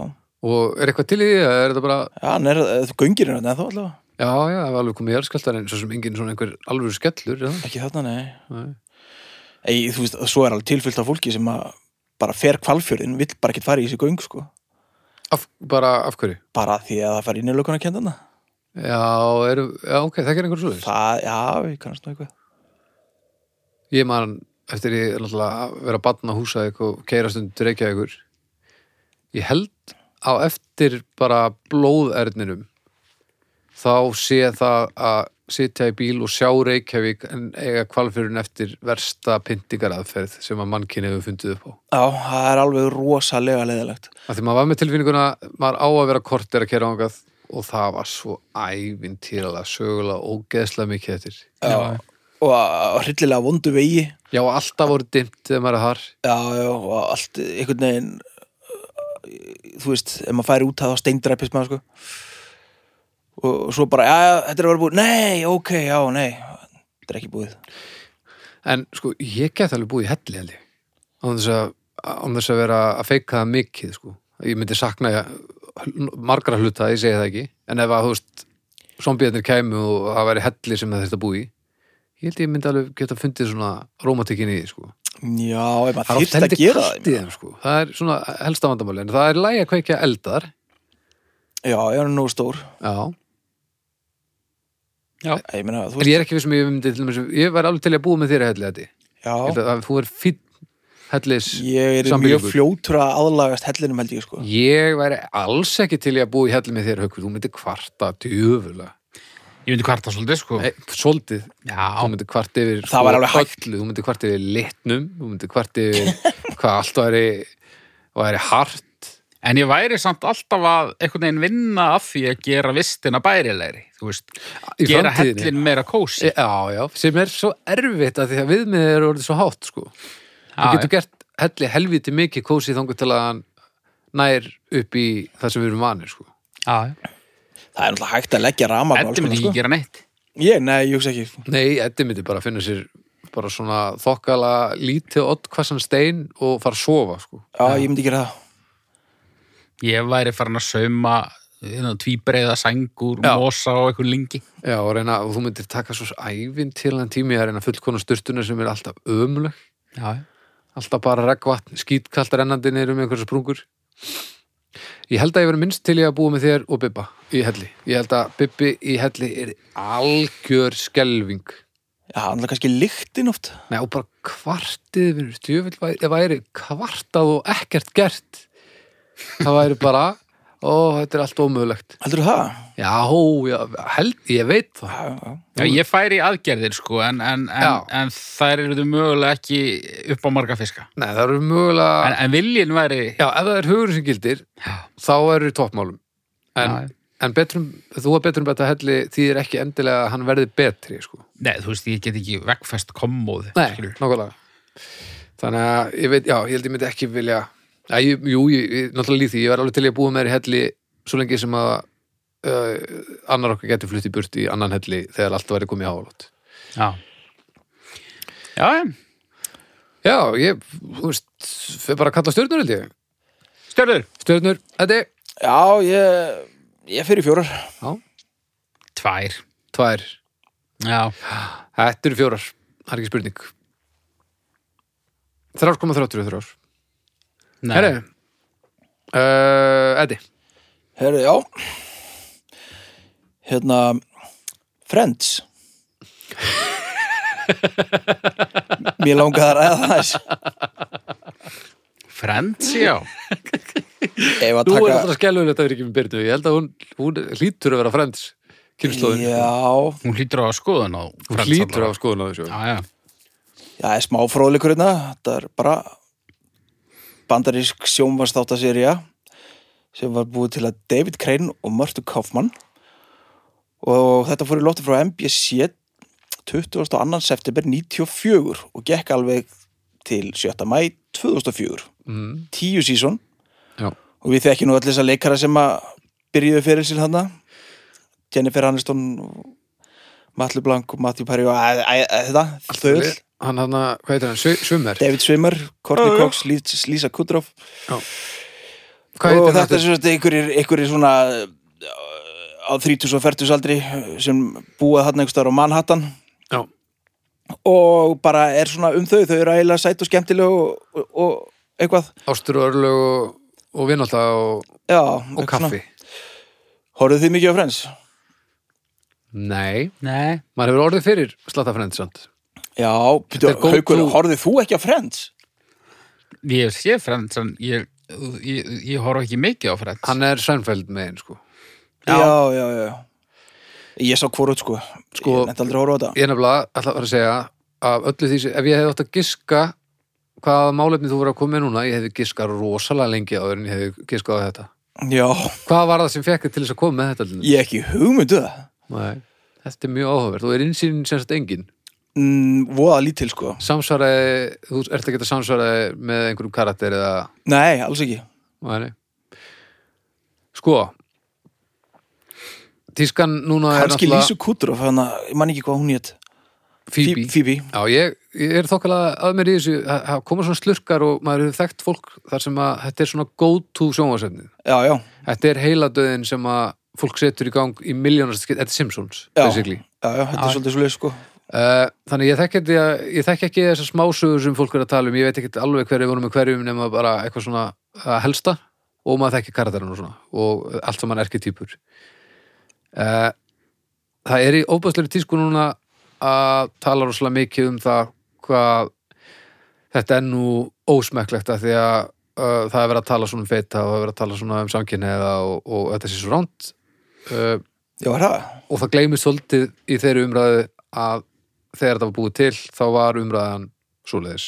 [SPEAKER 1] og er eitthvað til í því eða er þetta bara
[SPEAKER 2] Já, hann er, þú göngir hérna en þá allavega
[SPEAKER 1] já, já, það var alveg komið járskjaldar en svo sem engin svona einhver alvöru skellur já,
[SPEAKER 2] Ekki þarna, nei
[SPEAKER 1] Nei.
[SPEAKER 2] Ei, þú veist, svo er alveg tilfyllt af fólki sem að bara fer kvalfjörðin, vill bara ekkert fara í þessi göng sko
[SPEAKER 1] af, bara af hverju
[SPEAKER 2] bara því að það fær inn í lökuna kendana
[SPEAKER 1] Já, er, já ok, þekkir einhver svo
[SPEAKER 2] Það, já, ég kannast nú eitthvað
[SPEAKER 1] Ég man eftir ég náttúrulega að vera að batna húsaðik og keira stund reykja ykkur Ég held á eftir bara blóðerninum þá sé það að sitja í bíl og sjá Reykjavík en eiga kvalfyrun eftir versta pyntingaraðferð sem að mannkynni hefur fundið upp á.
[SPEAKER 2] Já, það er alveg rosalega leiðilegt
[SPEAKER 1] Af því maður var með tilfinninguna, maður á að vera kort er að kera ángað og það var svo ævintýralega, sögulega, ógeðslega mikið eftir.
[SPEAKER 2] Já, og að- hryllilega vondu vegi
[SPEAKER 1] Já, og alltaf voru dimmt þegar maður er þar.
[SPEAKER 2] já, já, og allt einhvern veginn uh, þú veist, ef maður færi út að þá steindræpist maður sko og, og svo bara, já, já, þetta er að vera búið nei, ok, já, nei þetta er ekki búið
[SPEAKER 1] En sko, ég get alveg búið í helli held ég án þess að, án þess að vera að feika það mikið sko. Ég myndi sakna margra hluta, ég segi það ekki en ef að, þú veist, zombiðarnir kæmu og það væri helli sem það þurfti að búi ég held ég myndi alveg geta fundið svona rómatikinn í því, sko.
[SPEAKER 2] já, ef
[SPEAKER 1] Það er
[SPEAKER 2] maður
[SPEAKER 1] oft
[SPEAKER 2] þyrst að
[SPEAKER 1] heldur
[SPEAKER 2] gera
[SPEAKER 1] kalt
[SPEAKER 2] það
[SPEAKER 1] í þeim, sko. Það er svona helsta vandamáli en það er lægi að kveikja eldar
[SPEAKER 2] já, ég er nú stór
[SPEAKER 1] Já.
[SPEAKER 2] ég meina, þú
[SPEAKER 1] En
[SPEAKER 2] veist,
[SPEAKER 1] ég er ekki við sem ég myndi til þess ég væri alveg til að búið með þér í helli þetta. Ég
[SPEAKER 2] já
[SPEAKER 1] held að Þú er fínn hellis
[SPEAKER 2] ég er mjög
[SPEAKER 1] sambýlingur.
[SPEAKER 2] fljótur að aðlagast hellinum held ég sko
[SPEAKER 1] Ég væri alls ekki til í að búa í hellu með þér, Haukur. Þú myndir kvarta djöfulega.
[SPEAKER 3] ég myndi kvarta svolítið sko
[SPEAKER 1] Nei, Svolítið. Þú
[SPEAKER 3] já,
[SPEAKER 1] myndir kvarta yfir
[SPEAKER 2] Það væri alveg hægt.
[SPEAKER 1] öllu. Þú myndir kvarta yfir litnum. Þú myndir kvarta *laughs* yfir hvað allt væri, væri hart.
[SPEAKER 3] en ég væri samt alltaf að einhvern veginn vinna af því að gera vistina bærilegri þú veist,
[SPEAKER 1] Í
[SPEAKER 3] gera
[SPEAKER 1] framtíðinni. Eh,
[SPEAKER 3] hellin meira kósi
[SPEAKER 1] Já, já. Sem er svo erfitt að því að viðmið er orðið svo hátt, sko. Þú getur gert helli helviti mikið kósið þangur til að hann nær upp í það sem við erum vanir, sko.
[SPEAKER 3] þetta
[SPEAKER 2] það er náttúrulega hægt að leggja rama
[SPEAKER 3] myndi
[SPEAKER 1] sko.
[SPEAKER 3] ekki gera neitt
[SPEAKER 2] sko. ég, nei, ég hugsa ekki
[SPEAKER 1] Nei, Eddi myndi bara finna sér bara svona þokkala lítið ottkvassan stein og fara að sofa, sko.
[SPEAKER 2] já, ég myndi gera það
[SPEAKER 3] ég væri farin að sauma hérna, tvíbreiða sængur,
[SPEAKER 1] Já.
[SPEAKER 3] mosa og eitthvað lingi
[SPEAKER 1] Já, og reyna, og þú myndir taka svo ævinn til hann tími að reyna fullkona sturtuna sem er alltaf ömuleg,
[SPEAKER 3] já,
[SPEAKER 1] alltaf bara regnvatn, skítkallt rennandi niður um einhverja sprungur. Ég held að ég verið minnst til ég að búa með þér og Bibba í helli. Ég held að Bibbi í helli er algjör skelving.
[SPEAKER 2] Já, hann er kannski lyktin oft
[SPEAKER 1] Nei, og bara kvartið, vinnur, stjöfull væri, ef væri kvartað og ekkert gert. Það væri bara, ó, þetta er allt ómögulegt.
[SPEAKER 2] Heldur það?
[SPEAKER 1] Já, já, held, ég veit það.
[SPEAKER 2] Já, já.
[SPEAKER 3] Já, ég færi í aðgerðir sko, en, en,
[SPEAKER 1] Já.
[SPEAKER 3] en, en þær eru mögulega ekki upp á marga fiska.
[SPEAKER 1] Nei, það eru mögulega...
[SPEAKER 3] En, en viljinn væri...
[SPEAKER 1] Já, ef það er hugurinn sem gildir,
[SPEAKER 3] Já.
[SPEAKER 1] þá eru í toppmálum. En,
[SPEAKER 3] Já.
[SPEAKER 1] en betrum, þú um að betrum betta helli þýðir ekki endilega að hann verði betri, sko.
[SPEAKER 3] Nei, þú veist, ég get ekki vegfest kommóð.
[SPEAKER 1] Nei,
[SPEAKER 3] skilur.
[SPEAKER 1] nákvæmlega. Þannig að ég veit, já, ég held ég myndi ekki vilja... Æ, ég- jú, ég, ég, náttúrulega líð því, ég var alveg til ég að búa með þér í helli svo lengi sem að uh, annar okkar geti flutt í burt í annan helli þegar allt væri komið áhaldt.
[SPEAKER 3] Já. Já, já.
[SPEAKER 1] Já, ég, þú veist, fyrir bara að kalla stjörnur held ég.
[SPEAKER 3] Stjörður,
[SPEAKER 1] Stjörnur, þetta er
[SPEAKER 2] já ég, ég fyrir fjórar
[SPEAKER 3] tvær.
[SPEAKER 1] tvær,
[SPEAKER 3] Já.
[SPEAKER 1] þetta eru fjórar, það er ekki spurning. 3,33
[SPEAKER 3] Nei.
[SPEAKER 1] Herri uh, Eddi
[SPEAKER 2] Herðu, já Hérna Friends Mér langaði að ræða það aðeins.
[SPEAKER 3] Friends, já.
[SPEAKER 2] Ef
[SPEAKER 1] Þú er
[SPEAKER 2] að taka
[SPEAKER 1] alltaf skellur þetta er ekki með Byrnu Ég held að hún, hún hlýtur að vera frends Kynslóðin
[SPEAKER 2] Já,
[SPEAKER 3] Hún hlýtur á að skoða ná.
[SPEAKER 1] Hún hlýtur að skoðun á þessu
[SPEAKER 3] Já, já.
[SPEAKER 2] já, ég er smá fróðleikur hérna Þetta er bara bandarísk sjónvarsþáttaserja sem var búið til að David Crane og Mörtu Kaufmann og þetta fór í lofti frá MBC 22. september 94 og gekk alveg til 7. mæ 2004
[SPEAKER 1] mm.
[SPEAKER 2] tíu sísón
[SPEAKER 1] Já.
[SPEAKER 2] og við þekkjum nú allir þessar leikara sem að byrjuðu fyrir sér þarna Jennifer Aniston Matlu Blank og Matthew Perry og æ- æ- æ- þetta, þöll
[SPEAKER 1] Hann hann, hvað heitir hann, Svi- Svimmer
[SPEAKER 2] David Swimmer,
[SPEAKER 3] Já,
[SPEAKER 2] Courtney
[SPEAKER 3] já.
[SPEAKER 2] Cox, Lís- Lisa Kudrow
[SPEAKER 1] Hvað
[SPEAKER 2] og
[SPEAKER 1] heitir hann
[SPEAKER 2] þetta er
[SPEAKER 1] aftur?
[SPEAKER 2] svo þetta einhverjir, einhverjir svona uh, á 30 og 40 aldri sem búa þarna einhvers staðar á Manhattan
[SPEAKER 1] Já.
[SPEAKER 2] og bara er svona um þau, þau eru ægilega sæt og skemmtileg og, og, og eitthvað
[SPEAKER 1] Ástur og örlög og, og vinnáta og,
[SPEAKER 2] Já,
[SPEAKER 1] og kaffi
[SPEAKER 2] Horfðu þið mikið á Friends?
[SPEAKER 1] Nei,
[SPEAKER 3] Nei.
[SPEAKER 1] maður hefur orðið fyrir Slata frends samt
[SPEAKER 2] Já,
[SPEAKER 1] Þetta
[SPEAKER 2] Peter,
[SPEAKER 1] er góð
[SPEAKER 2] haukur,
[SPEAKER 1] trú.
[SPEAKER 2] horfðu þú ekki á Friends?
[SPEAKER 3] Ég hef séð Friends, en ég, ég, ég horf ekki mikið á Friends.
[SPEAKER 1] Hann er sænfæld með einn sko
[SPEAKER 3] Já.
[SPEAKER 2] Já, já, já, Ég sá hvort sko,
[SPEAKER 1] Sko-
[SPEAKER 2] ég nefndi aldrei að horfa á þetta
[SPEAKER 1] Ég er nefnilega ætla að fara að segja af öllu því sem, ef ég hefði átt að giska hvaða málefni þú voru að koma með núna ég hefði giskað rosalega lengi áður en ég hefði giskað á þetta
[SPEAKER 2] Já,
[SPEAKER 1] Hvað var það sem fekk þig til þess að koma með þetta? Linda?
[SPEAKER 2] ég ekki hugmyndu það
[SPEAKER 1] Nei, þetta er mjög áhugavert og er innsýnin sem sagt engin
[SPEAKER 2] mm, Voða lítil sko
[SPEAKER 1] samsvaraði, þú ert ekki að samsvaraði með einhverjum karakter eða
[SPEAKER 2] Nei, alls ekki
[SPEAKER 1] Nei, nei. sko tískan núna
[SPEAKER 2] Kanski
[SPEAKER 1] er
[SPEAKER 2] Lísu Kudrof, hann að, ég man ekki hvað hún hétt
[SPEAKER 1] Phoebe.
[SPEAKER 2] Phoebe
[SPEAKER 1] Já, ég, ég er þokkalega að mér í þessu að að koma svona slurkar og maður hefur þekkt fólk þar sem að þetta er svona go to sjónvarsefnið
[SPEAKER 2] Já, já,
[SPEAKER 1] þetta er heiladöðin sem að fólk setur í gang í miljónast, þetta er Simpsons
[SPEAKER 2] Já.
[SPEAKER 1] basically
[SPEAKER 2] já, já, þetta
[SPEAKER 3] Já.
[SPEAKER 2] er svolítið svolítið sko
[SPEAKER 1] Uh, þannig ég þekki, ekki, ég þekki ekki þessar smásögur sem fólk er að tala um, ég veit ekki alveg hverju voru með hverjum nema bara eitthvað svona að helsta og maður þekki karakterinn og svona og allt saman erki týpur uh, Það er í óbæðslega tísku núna að tala rosalega mikið um það hvað þetta er nú ósmekklegt að því að uh, það er verið að tala svona um feita og það er verið að tala svona um samkynniða og, og þetta sé svo ránt uh,
[SPEAKER 2] Já, er það?
[SPEAKER 1] og það gleymist svolítið í þeirri umræðu að þegar þetta var búið til þá var umræðan svoleiðis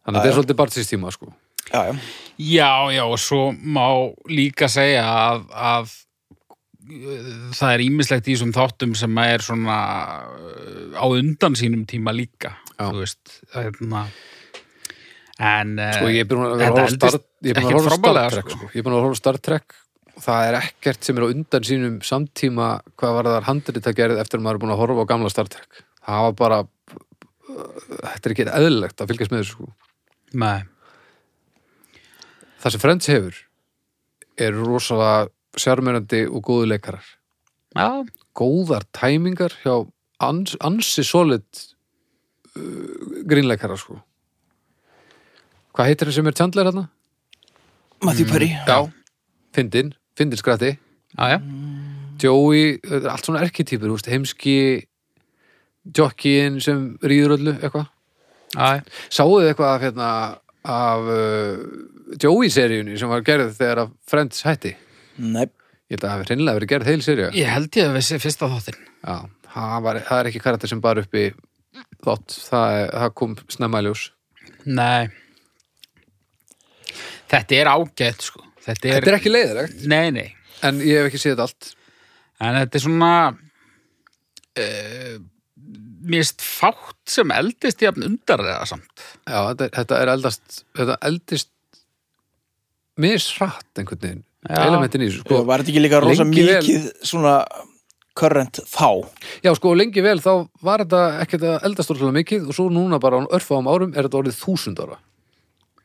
[SPEAKER 1] þannig að þetta
[SPEAKER 2] Já,
[SPEAKER 1] er
[SPEAKER 2] já.
[SPEAKER 1] svolítið barnsýstíma sko.
[SPEAKER 2] Já, já,
[SPEAKER 3] Já, já, og svo má líka segja að, að uh, það er ímislegt í þessum þáttum sem er svona uh, á undan sínum tíma líka,
[SPEAKER 1] Já.
[SPEAKER 3] þú veist, hérna, en eh,
[SPEAKER 1] sko ég er búin að
[SPEAKER 3] Þetta
[SPEAKER 1] vera að horfa á Star-
[SPEAKER 3] eldist
[SPEAKER 1] ég er búin
[SPEAKER 3] ekkert
[SPEAKER 1] að horfa á Star
[SPEAKER 3] frábærlega,
[SPEAKER 1] Trek
[SPEAKER 3] sko.
[SPEAKER 1] sko. ég er búin að horfa á Star Trek og það er ekkert sem er á undan sínum samtíma hvað var það handrið að gerð eftir að maður er búin að horfa á gamla Star Trek það var bara þetta er ekki eðlilegt að fylgjast með þessu sko.
[SPEAKER 3] nei,
[SPEAKER 1] það sem Friends hefur eru rosalega sérmjörandi og góðu leikarar
[SPEAKER 3] já,
[SPEAKER 1] góðar tæmingar hjá ans, ansi solid uh, grínleikara sko hvað heitir það sem er Chandler hérna?
[SPEAKER 2] Matthew Perry
[SPEAKER 1] Já, fyndin, fyndin skratti
[SPEAKER 3] já, já,
[SPEAKER 1] Joey, þetta er allt svona erkitýpur þú veist, heimski jockeyin sem rýður öllu eitthvað
[SPEAKER 3] já, já.
[SPEAKER 1] Sáuðu þið eitthvað af, hérna, af uh, Joey-seríunni sem var gerð þegar að Friends hætti?
[SPEAKER 2] Nei,
[SPEAKER 1] Ég held að það hafi hreinlega verið gerð heil seríu.
[SPEAKER 3] Ég held ég að við sé fyrsta þáttinn.
[SPEAKER 1] Já, það, var, það er ekki karakter sem bara uppi þátt, það, er- það kom snemma í ljós.
[SPEAKER 3] Nei. Þetta er ágætt, sko. Þetta er,
[SPEAKER 1] Þetta er ekki leiðilegt,
[SPEAKER 3] Nei, nei.
[SPEAKER 1] en ég hef ekki séð þetta allt.
[SPEAKER 3] En þetta er svona... Uh, mér finnst fátt sem eldist jafn undarlega samt.
[SPEAKER 1] Já, þetta, er- þetta er eldast, þetta eldist misrætt einhvern veginn.
[SPEAKER 3] Já.
[SPEAKER 1] Elementin í þessu, sko.
[SPEAKER 2] var þetta ekki líka rosa
[SPEAKER 1] lengi vel-
[SPEAKER 2] mikið svona current þá
[SPEAKER 1] Já, sko, lengi vel þá var þetta ekkert að eldast orðslega mikið og svo núna bara á örfáum árum er þetta orðið þúsund ára.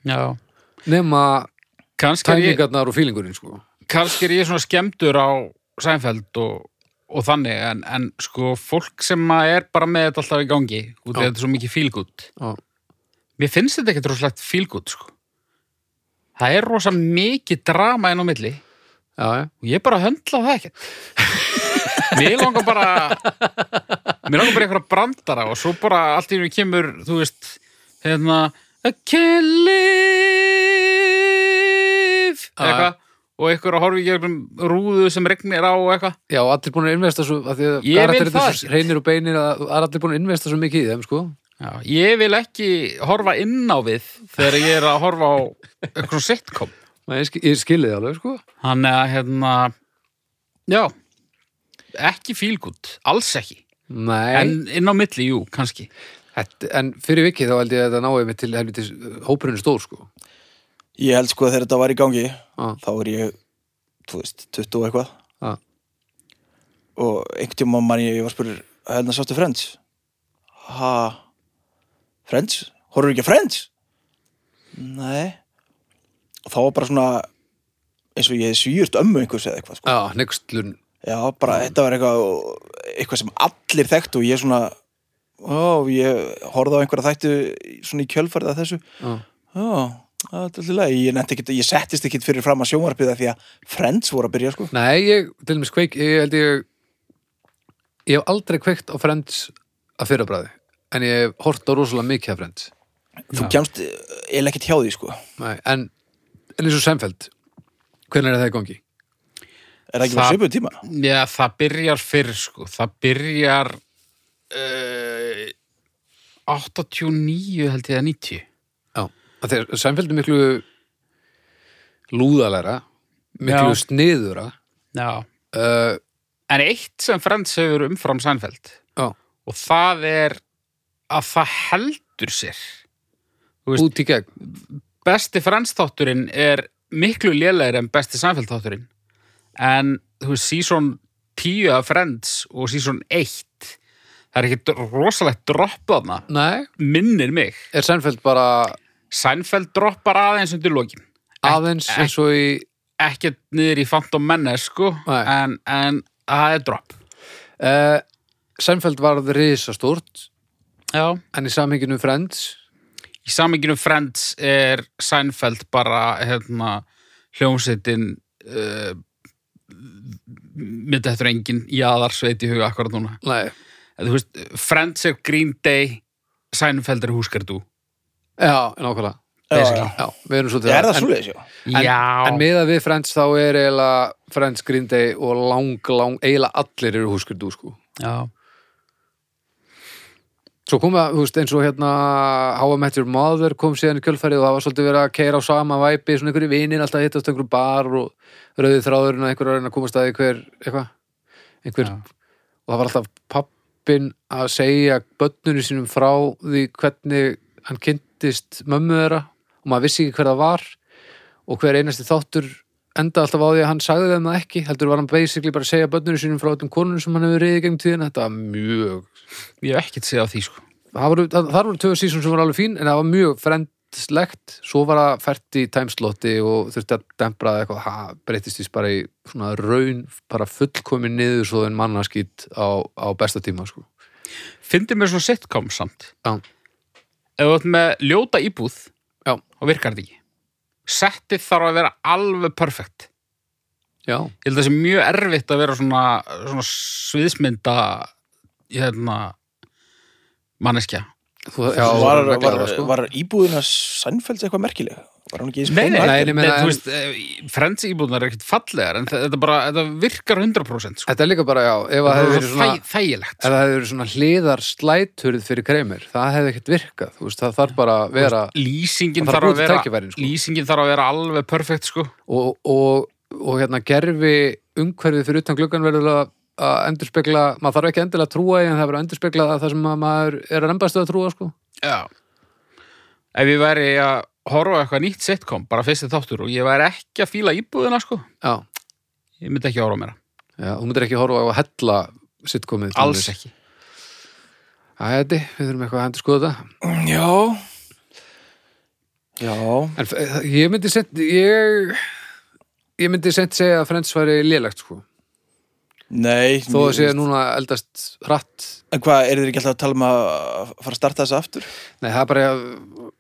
[SPEAKER 3] Já.
[SPEAKER 1] Nema
[SPEAKER 3] Kannski er ég,
[SPEAKER 1] tæmingarnar og fílingurinn sko.
[SPEAKER 3] kannski er ég svona skemmtur á Sænfeld og, og þannig, en, en sko fólk sem að er bara með þetta alltaf í gangi, út af
[SPEAKER 1] Já.
[SPEAKER 3] þetta er svo mikið fílgút.
[SPEAKER 1] Já.
[SPEAKER 3] Mér finnst þetta ekkert rosalegt fílgút, sko. Það er rosa mikið drama inn á milli
[SPEAKER 1] Já, já.
[SPEAKER 3] og ég bara höndla það ekkert. mér langar bara, mér langar bara eitthvað brandara og svo bara allt í hennu kemur, þú veist, hérna, I can live,
[SPEAKER 1] Já,
[SPEAKER 3] eitthvað, og eitthvað að horfa í gegnum rúðu sem regnir á og eitthvað.
[SPEAKER 1] já, og allir búin að investa svo að því að
[SPEAKER 3] Ég vil
[SPEAKER 1] karakterinn
[SPEAKER 3] það
[SPEAKER 1] þessu
[SPEAKER 3] ekkert.
[SPEAKER 1] reynir og beinir að að allir búin að investa svo mikið í þeim sko.
[SPEAKER 3] Já, ég vil ekki horfa inn á við þegar ég er að horfa á eitthvað sitcom.
[SPEAKER 1] Nei, Ég, skil, ég skilið þið alveg sko.
[SPEAKER 3] Þannig að, hérna, já, ekki fílgútt, alls ekki.
[SPEAKER 1] Nei, en,
[SPEAKER 3] En inn á milli, jú, kannski.
[SPEAKER 1] þetta, en fyrir vikið þá held ég að þetta náið mig til helvitis hópurinn er stór sko.
[SPEAKER 2] Ég held sko að þegar þetta var í gangi
[SPEAKER 1] Já.
[SPEAKER 2] þá er ég, þú veist, 20 og eitthvað
[SPEAKER 1] Já.
[SPEAKER 2] og einhvern tíma mann ég, ég var spurður hérna sástu Friends ha, Friends? Horfur ekki að Friends? Nei og þá var bara svona eins og ég hef svíjurt ömmu einhvers eða eitthvað sko.
[SPEAKER 1] Já, neykslun
[SPEAKER 2] já, bara þetta var eitthvað eitthvað sem allir þekktu og ég svona ó, ég horfði á einhverja þættu svona í kjölfærið að þessu
[SPEAKER 1] Já,
[SPEAKER 2] Já, það er alltaf leið. Ég, nennti ekkit, ég settist ekkit fyrir fram að sjónvarpið af því að Friends voru að byrja, sko.
[SPEAKER 1] Nei, ég, til dæmis kveik, ég held ég ég hef aldrei kveikt á Friends að fyrrabræði, en ég hef hort á rosalega mikið af Friends
[SPEAKER 2] Þú kemst eh, eiginlega ekkit hjá því, sko.
[SPEAKER 1] Nei, en, en eins og Seinfeld hvernig er það í gangi?
[SPEAKER 2] Er það ekki bara
[SPEAKER 3] Það-
[SPEAKER 2] svipuð tíma?
[SPEAKER 3] Já, það byrjar fyrr, sko. Það byrjar uh, 89, held ég, eða 90.
[SPEAKER 1] Já, af því að Seinfeld er miklu lúðalæra miklu
[SPEAKER 3] Já.
[SPEAKER 1] sniðura
[SPEAKER 3] Já.
[SPEAKER 1] uh,
[SPEAKER 3] En eitt sem Friends hefur umfram Sænfeld
[SPEAKER 1] já,
[SPEAKER 3] og það er að það heldur sér. Þú veist,
[SPEAKER 1] út í gegn
[SPEAKER 3] besti Friends þátturinn er miklu lélegri en besti Sænfeld þátturinn. En, þú veist, season 10 af Friends og season 1 það er ekkit rosalegt droppaðna,
[SPEAKER 1] Nei,
[SPEAKER 3] minnir mig.
[SPEAKER 1] er Seinfeld bara
[SPEAKER 3] Sænfeld droppar aðeins undir lokin
[SPEAKER 1] aðeins
[SPEAKER 3] ek-
[SPEAKER 1] eins og í
[SPEAKER 3] ekkert niður í Phantom Menace sko
[SPEAKER 1] Nei.
[SPEAKER 3] en, en það er drop
[SPEAKER 1] uh, Seinfeld varð risastórt
[SPEAKER 3] Já.
[SPEAKER 1] en í samhenginu Friends
[SPEAKER 3] í saminginu Friends er Sænfeld bara hérna, hljómsveitin uh, myndi eftir engin jaðarsveit í huga akkurat núna
[SPEAKER 1] Nei,
[SPEAKER 3] en, þú veist, Friends er Green Day Sænfeld er Húskardu
[SPEAKER 1] já, nákvæmlega
[SPEAKER 2] Já,
[SPEAKER 1] Basically. já, við erum svolítið
[SPEAKER 2] Er það
[SPEAKER 1] en-
[SPEAKER 2] svoleiðis, já?
[SPEAKER 1] En, en miðað við Friends þá er eiginlega Friends Green Day og lang, lang, eiginlega allir eru húskurdu sko.
[SPEAKER 3] já.
[SPEAKER 1] Svo kom það, þú veist, eins og hérna How I Met Your Mother kom síðan í kjölfærið og það var svolítið verið að keira á sama væpi svona einhverju vinir alltaf að hittast á einhverju bar og rauðið þráðurinn að einhverju að reyna að komast að því hver, eitthvað, einhver
[SPEAKER 3] Já.
[SPEAKER 1] og það var alltaf pappin að segja börnunum sínum frá því hvernig hann kynntist mömmu þeirra og maður vissi ekki hver það var og hver einasti þáttur enda alltaf á því að hann sagði þeim það ekki heldur var hann basically bara að segja börnunum sínum frá öllum konunum sem hann hefur reyðið gegn tíðina þetta var mjög
[SPEAKER 3] ég hef ekkert segjað því sko
[SPEAKER 1] það voru, það, það voru tvö sísón sem voru alveg fín en það var mjög frendslegt svo var það fært í tæmslotti og þurfti að dembra það eitthvað það breytist því bara í svona raun bara fullkomin niður svo en mannaskýt á, á besta tíma sko.
[SPEAKER 3] Fyndi mér svona sitcom samt
[SPEAKER 1] Já.
[SPEAKER 3] Ef þú ert með ljóta íbúð
[SPEAKER 1] Já.
[SPEAKER 3] og virkar þetta ekki Settið þarf að vera alveg perfekt
[SPEAKER 1] já,
[SPEAKER 3] ég held að það sé mjög erfitt að vera svona, svona sviðsmynda hérna manneskja
[SPEAKER 1] þú, já
[SPEAKER 2] var, var,
[SPEAKER 1] regla
[SPEAKER 2] var,
[SPEAKER 1] það, sko.
[SPEAKER 2] var íbúðina Sænfelds eitthvað merkileg? Var hún ekki eins
[SPEAKER 3] Nei, nei, nei,
[SPEAKER 1] Nei, nei,
[SPEAKER 3] nei,
[SPEAKER 1] meina,
[SPEAKER 3] nei
[SPEAKER 1] en-
[SPEAKER 3] þú veist, eh, frensi íbúðunar er ekkert fallegar en þe- þetta, bara, þetta virkar 100% sko.
[SPEAKER 1] Þetta er líka bara, já, ef það
[SPEAKER 3] það
[SPEAKER 1] hefði
[SPEAKER 3] er
[SPEAKER 1] verið svona
[SPEAKER 3] þæ, þægilegt sko.
[SPEAKER 1] ef það hefði verið svona hliðar slæturð fyrir kreimir, það hefði ekkert virkað þú veist, það þarf bara að vera
[SPEAKER 3] lýsingin
[SPEAKER 1] það þarf
[SPEAKER 3] þarf að
[SPEAKER 1] að búa til
[SPEAKER 3] vera
[SPEAKER 1] tækifærin, sko.
[SPEAKER 3] lýsingin þarf að vera alveg perfekt sko.
[SPEAKER 1] og, og, og hérna gerfi umhverfið fyrir utan gluggan verður að, að endurspegla, maður þarf ekki endilega að trúa í en það verður að endurspegla það sem að maður er að rembast að trúa, sko
[SPEAKER 3] Já. ef ég væri að horfa á eitthvað nýtt sitcom, bara fyrsti þáttur og ég væri ekki að fíla íbúðuna sko.
[SPEAKER 1] Já,
[SPEAKER 3] ég myndi ekki horfa á mér
[SPEAKER 1] já þú myndir ekki horfa á að hella sitt komið
[SPEAKER 3] alls ekki
[SPEAKER 1] Æti, við þurfum eitthvað að endur skoða þetta
[SPEAKER 2] Já Já
[SPEAKER 1] En f- ég myndi sent, ég ég myndi sent segja að Friends væri lélegt, sko
[SPEAKER 2] Nei
[SPEAKER 1] þó að
[SPEAKER 2] mjög-
[SPEAKER 1] sé núna eldast hratt
[SPEAKER 2] En hvað, eru þeir ekki alltaf að tala um að fara að starta þessu aftur?
[SPEAKER 1] Nei, það er bara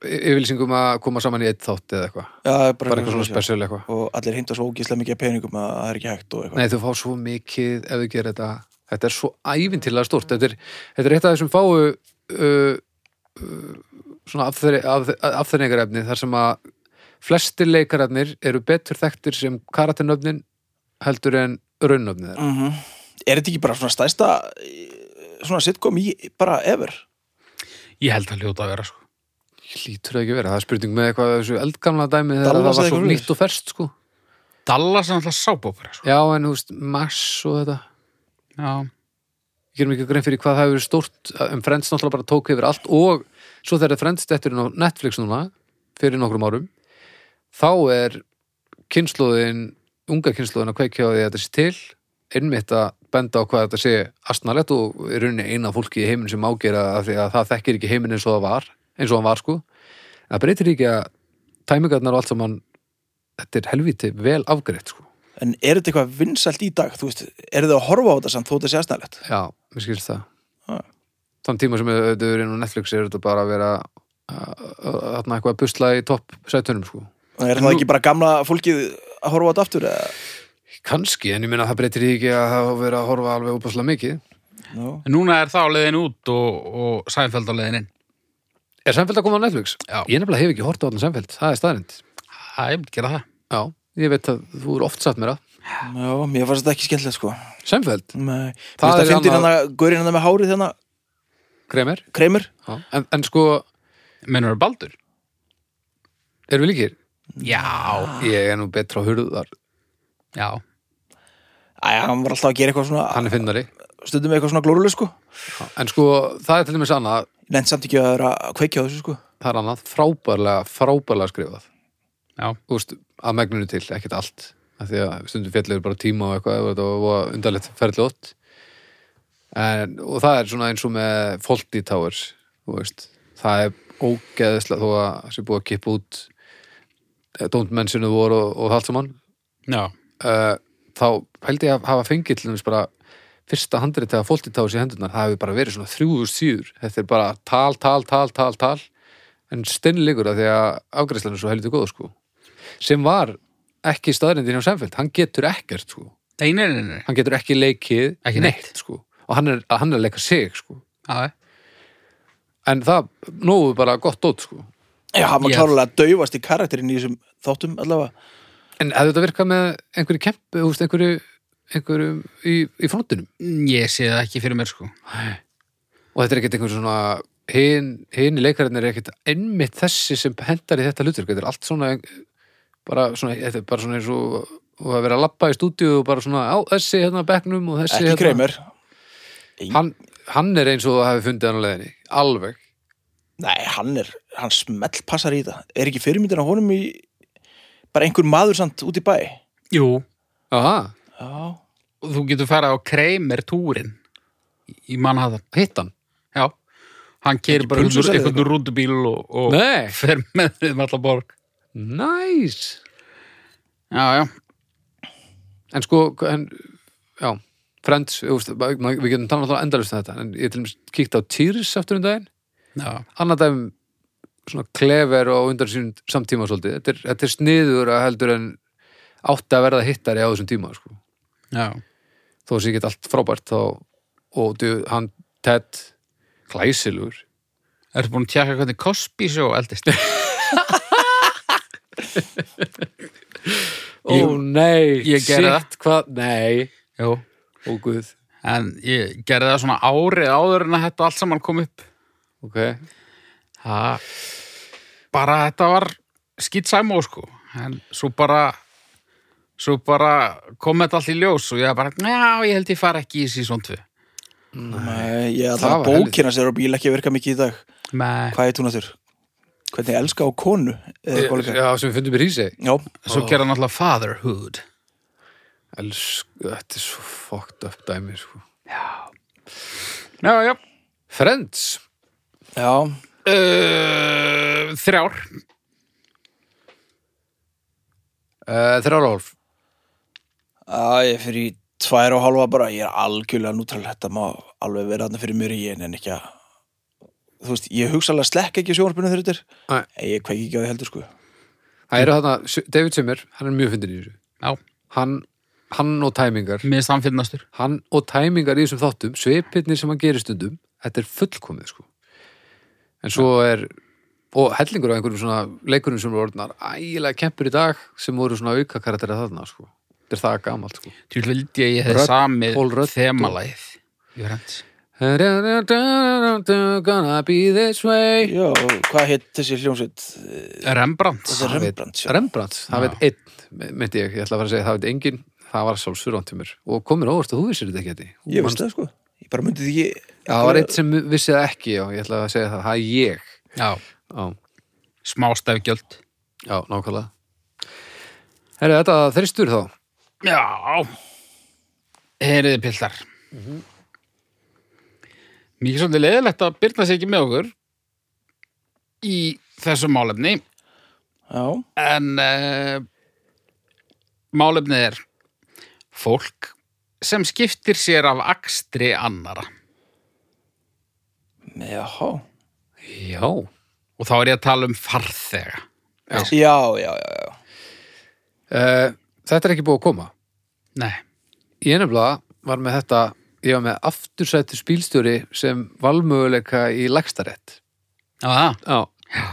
[SPEAKER 1] y- yfirlýsingum að koma saman í eitt þátt eða eitthvað.
[SPEAKER 2] Já, það er bara,
[SPEAKER 1] Bara eitthvað svona spesial eitthvað.
[SPEAKER 2] Og allir heimta svo ógíslega mikið af peningum að það er ekki hægt og eitthvað
[SPEAKER 1] Nei, þú fá svo mikið ef þú gerir þetta. Þetta er svo ævintilega stort. Þetta er, þetta er eitt af þessum fáu uh, uh, svona afþreyingarefni af, afþreyingarefni þar sem að flestir leikarefnir eru betur þekktir sem karaternöfnin heldur en raunnöfnið þeirra.
[SPEAKER 2] Mhm. Er þetta ekki bara svona stæsta eh, svona sitcom í bara ever?
[SPEAKER 3] ég held að hljóta að vera sko.
[SPEAKER 1] Lítur það ekki að vera. Það er spurning með eitthvað af þessu eldgamla dæmi þegar það
[SPEAKER 2] Dallas
[SPEAKER 1] var
[SPEAKER 2] eða
[SPEAKER 1] svo
[SPEAKER 2] eitthvað
[SPEAKER 1] nýtt og ferskt sko.
[SPEAKER 3] Dallas er alltaf sábópera sko.
[SPEAKER 1] Já, en þú veist, mass og þetta.
[SPEAKER 3] Já.
[SPEAKER 1] Ég gerum ekki grein fyrir hvað það hefur verið stórt um Friends náttúrulega bara tók yfir allt og svo þegar Friends dettur inn á Netflix núna fyrir nokkrum árum þá er kynnslóðin unga kynnslóðin að kveikja á því að þetta sé til einmitt að benda á hvað þetta sé astnalett og er rauninni eina fólki í heiminn sem ágera af því að það þekkir ekki heiminn eins og það var eins og hann var sko En það breytir ekki að tæmingarnar og allt saman þetta er helviti vel afgreitt sko
[SPEAKER 2] En er þetta eitthvað vinsælt í dag? Þú veist, eru þau að horfa á þetta samt þó þetta sé aðstæðlegt?
[SPEAKER 1] Já, mér skilst það
[SPEAKER 2] Ha.
[SPEAKER 1] Þann tíma sem þau eru inn á Netflix er þetta bara að vera uh, þarna eitthvað að busla í topp sætunum sko.
[SPEAKER 2] Er það ekki bara gamla fólkið að horfa á þetta aftur? eða?
[SPEAKER 1] Kanski, en ég meina að það breytir því ekki að það hafa verið að horfa alveg úpaslega mikið
[SPEAKER 2] No.
[SPEAKER 3] En núna er það á leiðin út og, og Sænfeld á leiðin inn.
[SPEAKER 1] Er Sænfeld að koma á Netflix?
[SPEAKER 3] Já.
[SPEAKER 1] Ég nefnilega hef ekki hort á allan Sænfeld, það er staðrind
[SPEAKER 3] Það er gera það.
[SPEAKER 1] Já, ég veit að þú eru oft satt mér að
[SPEAKER 2] Já, mér fannst þetta ekki skemmtilegt sko
[SPEAKER 1] Sænfeld,
[SPEAKER 2] Nei,
[SPEAKER 1] Það
[SPEAKER 2] það
[SPEAKER 1] er
[SPEAKER 2] er fyndin hann
[SPEAKER 1] annað-
[SPEAKER 2] að gaurinn hann með hárið hérna,
[SPEAKER 1] Kremer
[SPEAKER 2] kreimur
[SPEAKER 1] en, en sko,
[SPEAKER 3] Menur er Baldur?
[SPEAKER 1] erum við líkir?
[SPEAKER 3] Já.
[SPEAKER 1] Ég er nú betra á hurðar,
[SPEAKER 3] Já.
[SPEAKER 2] Æja, hann var alltaf að gera eitthvað svona
[SPEAKER 1] hann er finnari
[SPEAKER 2] stundum eitthvað svona glóruleg sko
[SPEAKER 1] En sko, það er til dæmis annað
[SPEAKER 2] Nefnt samt ekki að vera að kveikja á þessu sko
[SPEAKER 1] það er annað frábærlega, frábærlega skrifað
[SPEAKER 3] Já.
[SPEAKER 1] Úst, að megninu til, ekkert allt af því að stundum fjallur bara tíma og eitthvað ef þetta var undarlegt ferli ótt en, og það er svona eins og með Fawlty Towers þú veist, það er ógeðislega þó að það sé búið að kippa út eh, Don't Mention the War og, og Halsamann
[SPEAKER 3] Já.
[SPEAKER 1] uh, þá held ég að hafa fengið til þess bara fyrsta handrið þegar Fawlty Towers í hendunar það hefur bara verið svona 3000 síður þetta er bara tal, tal, tal, tal, tal en steinleikur að því að afgræslan er svo heldur góð sko sem var ekki staðrindin hjá Seinfeld hann getur ekkert sko
[SPEAKER 3] Nei, nei, nei, nei.
[SPEAKER 1] hann getur ekki leikið
[SPEAKER 3] Ekki neitt.
[SPEAKER 1] sko og hann er, hann er að leika sig sko
[SPEAKER 3] Já.
[SPEAKER 1] en það nógu bara gott dót sko
[SPEAKER 2] Já, hann var
[SPEAKER 3] Ég-
[SPEAKER 2] klárlega að daufast í karakterinn í þessum þáttum allavega
[SPEAKER 1] en hefði þetta virkað með einhverju kemp húst, einhverju, einhverju í, í frontinum
[SPEAKER 3] Ég sé það ekki fyrir mér sko.
[SPEAKER 1] og þetta er ekkert einhver svona hin, hini leikarinn er ekkert einmitt þessi sem hendar í þetta hlutur þetta er allt svona bara svona, þetta er bara svona eins og og að vera að labba í stúdíu og bara svona á þessi hérna á bekknum og þessi
[SPEAKER 2] Ekki
[SPEAKER 1] hérna
[SPEAKER 2] kreimur
[SPEAKER 1] hann, hann er eins og það hefði fundið hann á leiðinni alveg,
[SPEAKER 2] Nei, hann er, hann smell passar í þetta Er ekki fyrirmyndin á honum í bara einhver maður samt út í bæ
[SPEAKER 3] Jú.
[SPEAKER 1] aha,
[SPEAKER 2] Já,
[SPEAKER 3] Og þú getur farað á Kramer túrin í Manhattan.
[SPEAKER 1] hitt hann
[SPEAKER 3] Já. Hann kerir bara
[SPEAKER 2] pulsu
[SPEAKER 3] einhvern
[SPEAKER 2] selja
[SPEAKER 3] einhvern rútubíl og, og
[SPEAKER 1] nei,
[SPEAKER 3] fer með þeim allar borg.
[SPEAKER 1] næs
[SPEAKER 3] Já, já.
[SPEAKER 1] en sko, en, já Friends, þú veist, ma- ma- við getum talað endalust um þetta, en ég til dæmis kíkti á Týris aftur um daginn,
[SPEAKER 3] Já.
[SPEAKER 1] annað dæmi um svona klefer og undan sín samtíma svolítið, þetta er, þetta er sniður að heldur en átti að verða hittari á þessum tíma sko.
[SPEAKER 3] já,
[SPEAKER 1] þó sé ekki allt frábært þá, og djú, hann Ted Klæsilur
[SPEAKER 3] ertu búin að tjekka hvernig Cosby sjó eldist
[SPEAKER 1] Ó nei,
[SPEAKER 3] ég gerði
[SPEAKER 1] sitt hvað, nei
[SPEAKER 3] *laughs* Jú,
[SPEAKER 1] Ó guð,
[SPEAKER 3] en ég gerði það svona árið áður en að þetta allt saman kom upp
[SPEAKER 1] ok
[SPEAKER 3] það bara þetta var skýtsæmó sko en svo bara svo bara kom þetta allt í ljós og ég bara, já, ég held ég fara ekki í sísón 2
[SPEAKER 2] Nei, ég
[SPEAKER 1] Það
[SPEAKER 2] ætla
[SPEAKER 1] var
[SPEAKER 2] að bókina sér á bíl ekki að virka mikið í dag
[SPEAKER 3] með,
[SPEAKER 2] Hvað heit hún aftur? Hvernig elska á konu? Eða eitthvað líka.
[SPEAKER 1] Eh, Já, sem við fundum í Rísi
[SPEAKER 2] Já,
[SPEAKER 3] svo gerði hann alltaf fatherhood
[SPEAKER 1] Elsku, þetta er svo fucked up dæmi sko.
[SPEAKER 3] já, já
[SPEAKER 1] Friends
[SPEAKER 2] já,
[SPEAKER 3] uh, þrjár
[SPEAKER 1] uh, Þrjára hálf
[SPEAKER 2] að ég fyrir í tvær og hálfa bara Ég er algjörlega nútrál Þetta má alveg vera þarna fyrir mér í en en ekki að Þú veist, ég hugsa alveg að slekka ekki sjónarpinu þegar þetta
[SPEAKER 1] Nei.
[SPEAKER 2] er En Ég kveiki ekki á því heldur sko
[SPEAKER 1] Það eru þarna, David Simmer, hann er mjög fyndin í þessu
[SPEAKER 3] já,
[SPEAKER 1] hann, hann og tæmingar
[SPEAKER 3] mér samfinnastur
[SPEAKER 1] hann og tæmingar í þessum þáttum svipirnir sem hann gerir stundum þetta er fullkomið sko en svo er og hellingur af einhverjum svona leikurum sem voru orðnar ægilega kempur í dag sem voru svona auka karakterið þarna sko þetta er það gamalt sko
[SPEAKER 3] til vildi ég ég hefði
[SPEAKER 1] Rödd,
[SPEAKER 3] samið
[SPEAKER 1] Paul Rudd og-
[SPEAKER 3] þemalæð ég var hans
[SPEAKER 1] gonna be this way
[SPEAKER 2] Já, hvað heit þessi hljómsveit?
[SPEAKER 3] Rembrandt
[SPEAKER 2] Þetta er
[SPEAKER 1] Það veit-
[SPEAKER 2] Rembrandt sjá.
[SPEAKER 1] Rembrandt, það veit einn myndi ég, ég ætla að fara að segja, það veit enginn það var sjálfsfyrrand til mér og komur óvart að þú vissir þetta ekki Eddi.
[SPEAKER 2] Ég veist það sko Ég bara myndi því ekki
[SPEAKER 1] Já, það var eitt sem vissi það ekki, já, ég ætla að segja það, það er ég.
[SPEAKER 3] já,
[SPEAKER 1] Já,
[SPEAKER 3] smástafgjöld
[SPEAKER 1] já, nákvæmlega. Herri, þetta þristur þá.
[SPEAKER 3] já heyriði piltar
[SPEAKER 1] Mhm.
[SPEAKER 3] mér er svolítið leiðilegt að byrna sig ekki með okkur í þessu málefni
[SPEAKER 2] Já,
[SPEAKER 3] en uh, málefnið er fólk sem skiptir sér af akstri annara
[SPEAKER 2] jáhá
[SPEAKER 1] Já.
[SPEAKER 3] og þá er ég að tala um farþega
[SPEAKER 2] Já, já, já, já
[SPEAKER 1] Uh, þetta er ekki búið að koma.
[SPEAKER 3] nei,
[SPEAKER 1] Ég nefnilega var með þetta, ég var með aftursættu spílstjóri sem valmöguleika í lagstarétt.
[SPEAKER 3] á það
[SPEAKER 1] Já.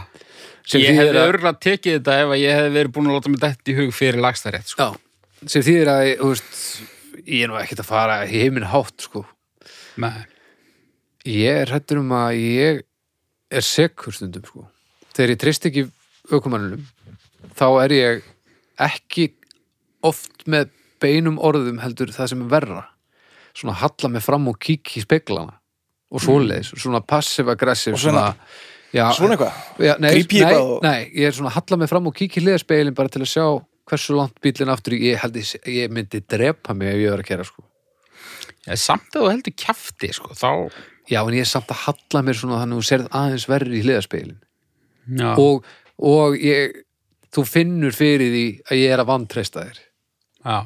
[SPEAKER 1] Sem
[SPEAKER 3] ég
[SPEAKER 1] þýðir
[SPEAKER 3] hefði
[SPEAKER 1] að-
[SPEAKER 3] örgulega tekið þetta ef að ég hefði verið búin að láta mig dætt í hug fyrir lagstarétt sko.
[SPEAKER 1] Já, sem þýðir að, þú veist, ég er nú ekkert að fara í heiminn hátt, sko.
[SPEAKER 3] Nei.
[SPEAKER 1] Ég er hættur um að ég er sekur stundum, sko. Þegar ég treyst ekki aukumannunum, þá er ég ekki oft með beinum orðum heldur það sem er verra. Svona halla mig fram og kík í speglana og svoleiðis, svona passiv-aggressiv,
[SPEAKER 2] Mm. Og svona-
[SPEAKER 1] já,
[SPEAKER 2] Svona eitthvað
[SPEAKER 1] já, nei,
[SPEAKER 2] gríp ég
[SPEAKER 1] nei,
[SPEAKER 2] eitthvað og-
[SPEAKER 1] nei, ég er svona að halla mig fram og kík í hliðaspeglin bara til að sjá hversu langt bílinn aftur, í- ég held ég, ég myndi drepa mig ef ég var að kera, sko.
[SPEAKER 3] Ég, samt að þú heldur kjafti sko, þá
[SPEAKER 1] Já, en ég er samt að halla mér svona þannig að þú serð aðeins verri í hliðaspeglin.
[SPEAKER 3] já.
[SPEAKER 1] og, og ég, þú finnur fyrir því að ég er að vantreista þér
[SPEAKER 3] Já.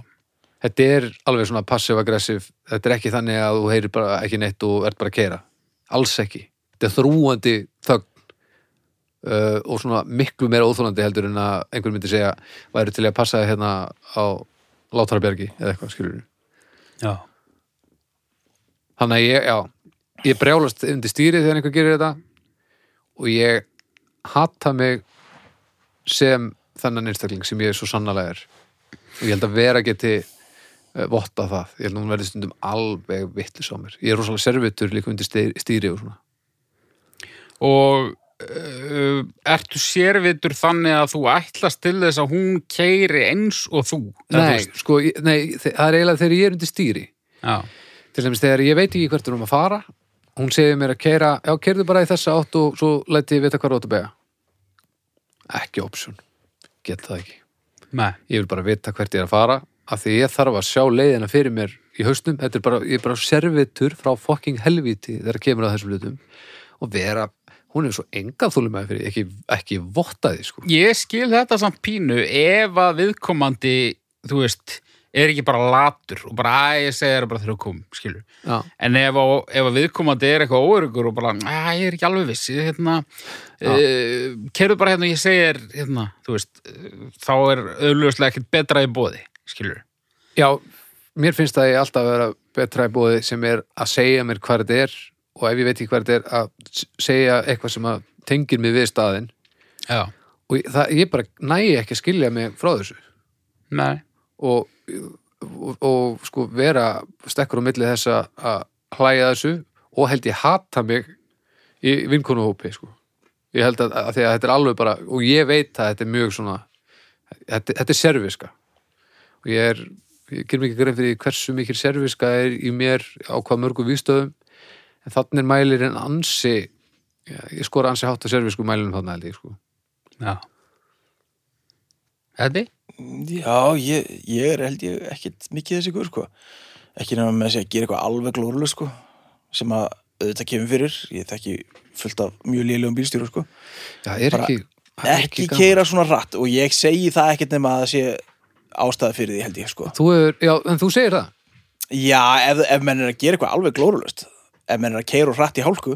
[SPEAKER 1] þetta er alveg svona passiv-aggressiv þetta er ekki þannig að þú heyrir bara ekki neitt og ert bara að keira, alls ekki þetta er þrúandi þögn uh, og svona miklu meira óþólandi heldur en að einhver myndi segja væri til í að passa þig hérna á Látrabjargi eða eitthvað skilur
[SPEAKER 3] Já.
[SPEAKER 1] þannig að ég, já ég brjálast undir stýri þegar einhver gerir þetta og ég hata mig sem þennan einstakling sem ég er svo sannarlega er og ég held að vera geti eh, vottað það, ég held að hún verði stundum alveg vittlis á mér, ég er rosalega servitur líka undir stýri, stýri og svona
[SPEAKER 3] og uh, ertu sérvitur þannig að þú ætlast til þess að hún keiri eins og þú Eða þú
[SPEAKER 1] nei,
[SPEAKER 3] veist-
[SPEAKER 1] sko, ég- nei, þe- það er eiginlega þegar ég er undir stýri
[SPEAKER 3] já.
[SPEAKER 1] til dæmis þegar ég veit ekki hvert er um að fara hún segir mér að keira, já, keirðu bara í þessa átt og svo læti ég vita hvað rátt að bega ekki option get það ekki
[SPEAKER 3] Nei.
[SPEAKER 1] ég vil bara vita hvert ég er að fara af því ég þarf að sjá leiðina fyrir mér í haustum, þetta er bara, ég er bara servitur frá fucking helvíti þegar kemur að þessum hlutum og vera, hún er svo enga þúlumæði fyrir, ekki, ekki vottaði sko.
[SPEAKER 3] ég skil þetta samt pínu ef að viðkomandi þú veist er ekki bara latur og bara að ég segja þér bara þegar þú kom, skilur
[SPEAKER 1] já,
[SPEAKER 3] en ef, á, ef að viðkomandi er eitthvað óörugur og bara, að ég er ekki alveg viss ég, hérna,
[SPEAKER 1] Já.
[SPEAKER 3] uh, kerðu bara hérna og ég segja þér, hérna, þú veist eh, þá er auðljóslega ekkert betra í bóði skilur,
[SPEAKER 1] já, mér finnst það ég alltaf að vera betra í bóði sem er að segja mér hvað þetta er og ef ég veit ekki hvað þetta er að s- segja eitthvað sem að tengir mig við staðinn
[SPEAKER 3] já,
[SPEAKER 1] og ég, það, ég bara nægi ekki að skilja mig frá þessu
[SPEAKER 3] nei
[SPEAKER 1] og, og, og sko vera stekkur á milli þess að- að hlæja þessu og held ég hata mig í vinkonuhópi sko. ég held að, að því að þetta er alveg bara og ég veit að þetta er mjög svona þetta, þetta er serviska og ég er, ég ger mikið grein fyrir því hversu mikil serviska er í mér á hvað mörgum vístöðum en þannig er mælir en ansi já, ég skora ansi hátt á servisku mælinum þannig held ég sko
[SPEAKER 3] já Þetta?
[SPEAKER 2] Já, ég, ég er held ég ekkit mikið þessi guður sko ekki nema með þess að gera eitthvað alveg glórulega sko sem að auðvitað kemur fyrir ég þekki fullt af mjög lélegum bílstjóru sko
[SPEAKER 1] já, er
[SPEAKER 2] Bara
[SPEAKER 1] ekki,
[SPEAKER 2] ekki
[SPEAKER 1] gaman.
[SPEAKER 2] keira svona rætt og ég segi það ekkit nema að það sé ástæða fyrir því held ég sko
[SPEAKER 1] þú er, já, en þú segir það
[SPEAKER 2] Já, ef, ef menn er að gera eitthvað alveg glórulegst ef menn er að keira og rætt í hálku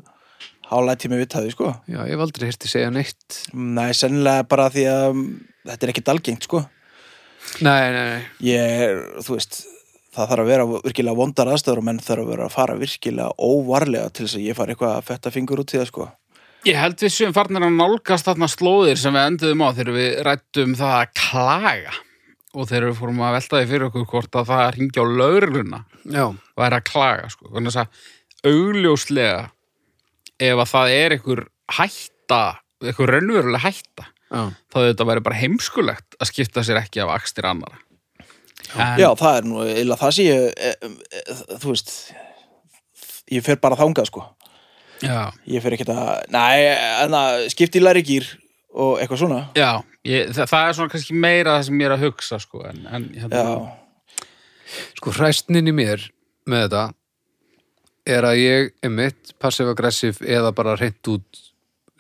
[SPEAKER 2] þá læt ég mig vita því sko
[SPEAKER 1] Já, ég hef aldrei hirti segja neitt.
[SPEAKER 2] Nei, sennilega bara því að mm, þetta er ekkit algengt sko
[SPEAKER 1] Nei, nei, nei.
[SPEAKER 2] ég er, þú veist það þarf að vera virkilega vondar aðstæður og menn þarf að vera að fara virkilega óvarlega til þess að ég fari eitthvað að fetta fingur út í það sko.
[SPEAKER 3] Ég held við sem farnir að nálgast þarna slóðir sem við enduðum á þegar við rættum það að klaga og þegar við fórum að velta því fyrir okkur hvort að það ringi á lögregluna
[SPEAKER 1] Já,
[SPEAKER 3] væri að klaga sko. þannig að augljóslega ef að það er einhver hætta einhver raunveruleg hætta
[SPEAKER 1] já.
[SPEAKER 3] þá þetta væri bara heimskulegt að skipta sér ekki af akstir annara en,
[SPEAKER 2] Já, það er nú eila það sé ég, e, e, e, þú veist ég fer bara þangað sko.
[SPEAKER 3] já,
[SPEAKER 2] Ég fer ekkert að, næ, en að skipti í læri gýr og eitthvað svona.
[SPEAKER 3] já ég, það, það er svona kannski meira það sem ég er að hugsa sko, en, en,
[SPEAKER 2] Já,
[SPEAKER 3] hérna,
[SPEAKER 1] Sko, hræstnin í mér með þetta er að ég er mitt passiv-aggressiv eða bara hreint út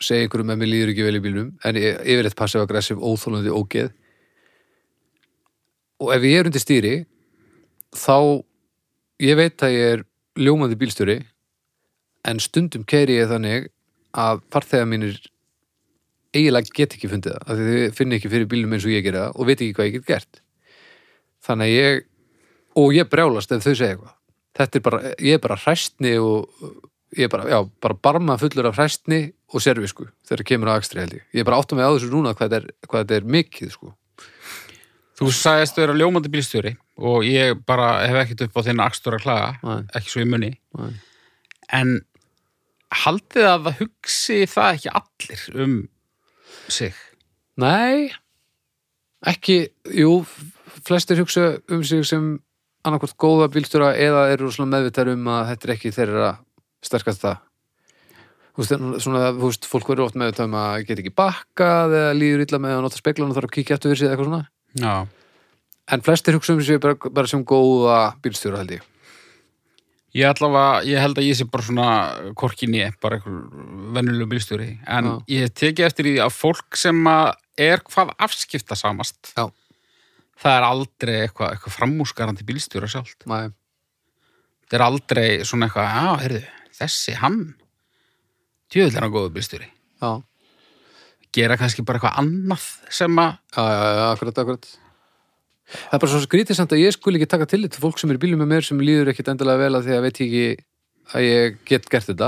[SPEAKER 1] segja einhverjum að mér líður ekki vel í bílnum en ég ég er eitt passiv-aggressiv, óþólandi, ógeð og ef ég er undir stýri þá ég veit að ég er ljómandi bílstjóri en stundum keiri ég þannig að farþegar mínir eiginlega get ekki fundið það af því þau finna ekki fyrir bílnum eins og ég gera það og veit ekki hvað ég get gert þannig að ég og ég brjálast ef þau segja eitthvað þetta er bara, ég er bara hræstni og ég er bara, já, bara barma fullur af hræstni og servisku þegar kemur á akstri held ég, ég er bara áttum með á þessu núna hvað þetta er, hvað þetta er mikið sko
[SPEAKER 3] þú sagðist vera ljómandi bílstjóri og ég bara hef ekkert upp á þinn akstur að klaga
[SPEAKER 1] Nei.
[SPEAKER 3] ekki svo ég muni
[SPEAKER 1] Nei.
[SPEAKER 3] en haldið að það hugsi það ekki allir um sig
[SPEAKER 1] nei, ekki jú, flestir hugsa um sig sem annarkvort góða bílstjóra eða eru svona meðvitar um að þetta er ekki þeirra sterkast það Þú veist, en svona, þú veist, fólk verður oft meðvitar um að geta ekki bakkað eða líður illa með að nota speklan og þarf að kíkja eftir fyrir sig eða eitthvað svona
[SPEAKER 3] já
[SPEAKER 1] En flestir hugsa um sig bara, bara sem góða bílstjóra held ég.
[SPEAKER 3] Ég, allavega, ég held að ég sé bara svona korkinni, bara einhver venjulegu bílstjóri, en
[SPEAKER 1] Já.
[SPEAKER 3] ég teki eftir því að fólk sem að er hvað afskipta samast,
[SPEAKER 1] Já.
[SPEAKER 3] það er aldrei eitthvað, eitthvað framúskarandi bílstjóra sjálft.
[SPEAKER 1] Nei,
[SPEAKER 3] Það er aldrei svona eitthvað, já, heyrðu, þessi, hann, djöðlega hann góðu bílstjóri.
[SPEAKER 1] já,
[SPEAKER 3] Gera kannski bara eitthvað annað sem að,
[SPEAKER 1] já, já, já, akkurat, akkurat. Það er bara svo skrítið samt að ég skuli ekki taka tillit til fólk sem er í bílum með mér sem líður ekkit endilega vel að því að veit ég ekki að ég get gert þetta.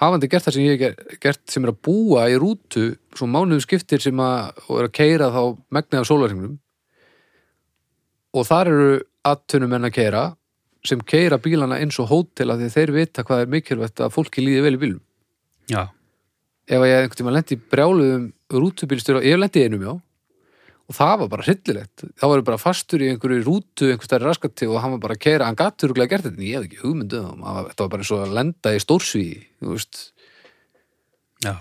[SPEAKER 1] Hafandi gert það sem ég hef ger- gert sem er að búa í rútu svo mánuðum skiptir sem að og er að keira þá megnið af sólarhinglum og þar eru attunum enn að keira sem keira bílana eins og hótel að því að þeir vita hvað er mikilvægt að fólki líði vel í bílum.
[SPEAKER 3] já,
[SPEAKER 1] ef að ég einhvern tímann lendi í brjáluðum rútubílstjóra, ég lendi í einum já og það var bara hryllilegt þá var ég bara fastur í einhverju rútu einhver stærri raskati og hann var bara að keira hann gat þurruglega gert þetta, en ég hef ekki hugmynduð um það. þetta var bara eins og að lenda í stórsvíi þú veist,
[SPEAKER 3] já,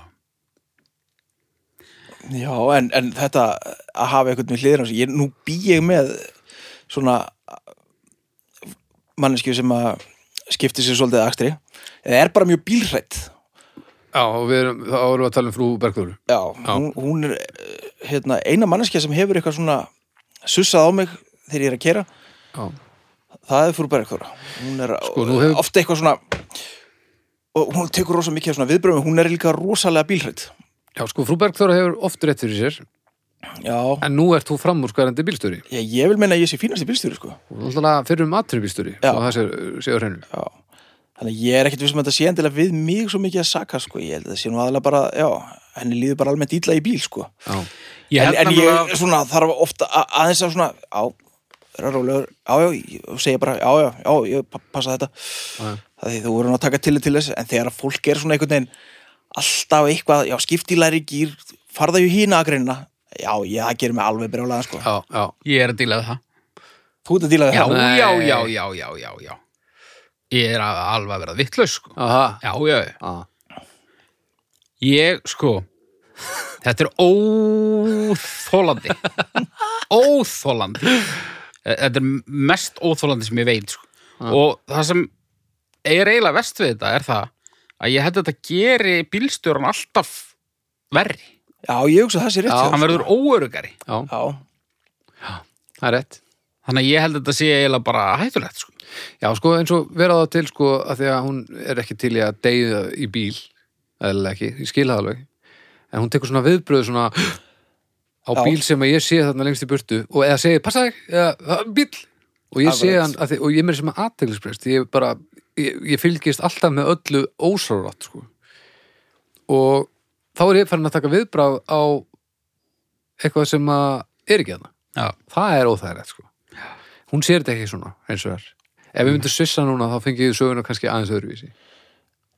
[SPEAKER 2] já en, en þetta að hafa eitthvað með hliðir á sig, ég, nú bý ég með svona manneski sem að skipti sér svolítið að akstri eða er bara mjög bílrætt
[SPEAKER 1] já og við erum, þá erum við að tala um frú Bergþóru
[SPEAKER 2] Já, Hún, hún er eh, hérna, eina manneskja sem hefur eitthvað svona sussað á mig þegar ég er að kera
[SPEAKER 1] já,
[SPEAKER 2] það er frú Bergþóra hún er
[SPEAKER 1] Sko, nú hefur-
[SPEAKER 2] ofta eitthvað svona og hún tekur rosa mikið af svona viðbröðum hún er líka rosalega bílhrætt
[SPEAKER 1] já sko, frú Bergþóra hefur oft rétt fyrir sér
[SPEAKER 2] já,
[SPEAKER 1] en nú ert þú framúrskarandi bílstjóri
[SPEAKER 2] ég, ég vil meina að ég sé fínasti bílstjóri sko
[SPEAKER 1] og alltaf fyrir um atribílstjóri
[SPEAKER 2] Já.
[SPEAKER 1] og það sé, sé á hreinu
[SPEAKER 2] Já, þannig að ég er ekkert við sem þetta sé endilega við mig svo mikið að saka sko, ég held að það sé nú aðalega bara, já, henni líður bara almennt illa í bíl sko,
[SPEAKER 1] já,
[SPEAKER 3] Ég
[SPEAKER 2] en,
[SPEAKER 3] held
[SPEAKER 2] en
[SPEAKER 3] nefnilega-
[SPEAKER 2] ég svona þarf ofta a- aðeins að svona, já, vera rólegur, já, já, ég segja bara, já, já, já, ég pa- passa þetta,
[SPEAKER 1] já,
[SPEAKER 2] það því þú voru nú að taka til til þess, en þegar að fólk er svona einhvern veginn alltaf eitthvað, já, skipti í læri gýr, farða ju hína að greina, já, já, það gerir mig alveg brjólaðan sko,
[SPEAKER 1] já, já.
[SPEAKER 3] Ég er að díla við það.
[SPEAKER 2] þú ert að díla við
[SPEAKER 3] Já,
[SPEAKER 2] það,
[SPEAKER 1] Nei.
[SPEAKER 3] já, já, já, já, já, já. Ég er að- alveg að vera vittlaus, sko.
[SPEAKER 1] Aha.
[SPEAKER 3] Já, já, já.
[SPEAKER 1] Já.
[SPEAKER 3] Ég, sko, þetta er óþólandi. óþólandi. Þetta er mest óþólandi sem ég veit, sko. Og það sem er eiginlega vest við þetta er það að ég held að þetta geri bílstjóran alltaf verri.
[SPEAKER 2] já, ég hugsa að það sé rétt,
[SPEAKER 1] Já.
[SPEAKER 2] hjá
[SPEAKER 3] Hann
[SPEAKER 2] þér,
[SPEAKER 3] verður óörugari.
[SPEAKER 1] já,
[SPEAKER 2] sko. já,
[SPEAKER 1] það er rétt
[SPEAKER 3] Þannig að ég held að þetta sé eiginlega bara hættulegt, sko.
[SPEAKER 1] Já, sko, eins og vera það til, sko, að því að hún er ekki til í að deyða í bíl, eða ekki, ég skil það alveg, en hún tekur svona viðbröð svona á
[SPEAKER 2] Já.
[SPEAKER 1] bíl sem að ég sé þarna lengst í burtu og eða segi, passa þig, eða bíl, og ég sé
[SPEAKER 2] Akkurat.
[SPEAKER 1] hann, að því, og ég er meira sem að aðteglisprest, ég bara, ég, ég fylgist alltaf með öllu ósárat, sko, og þá er ég farin að taka viðbröð á eitthvað sem að er ekki þarna
[SPEAKER 3] Já.
[SPEAKER 1] það er óþægilegt sko hún sér þetta ekki svona eins og er ef við myndum svissa núna þá fengið við söguna kannski aðeins öðruvísi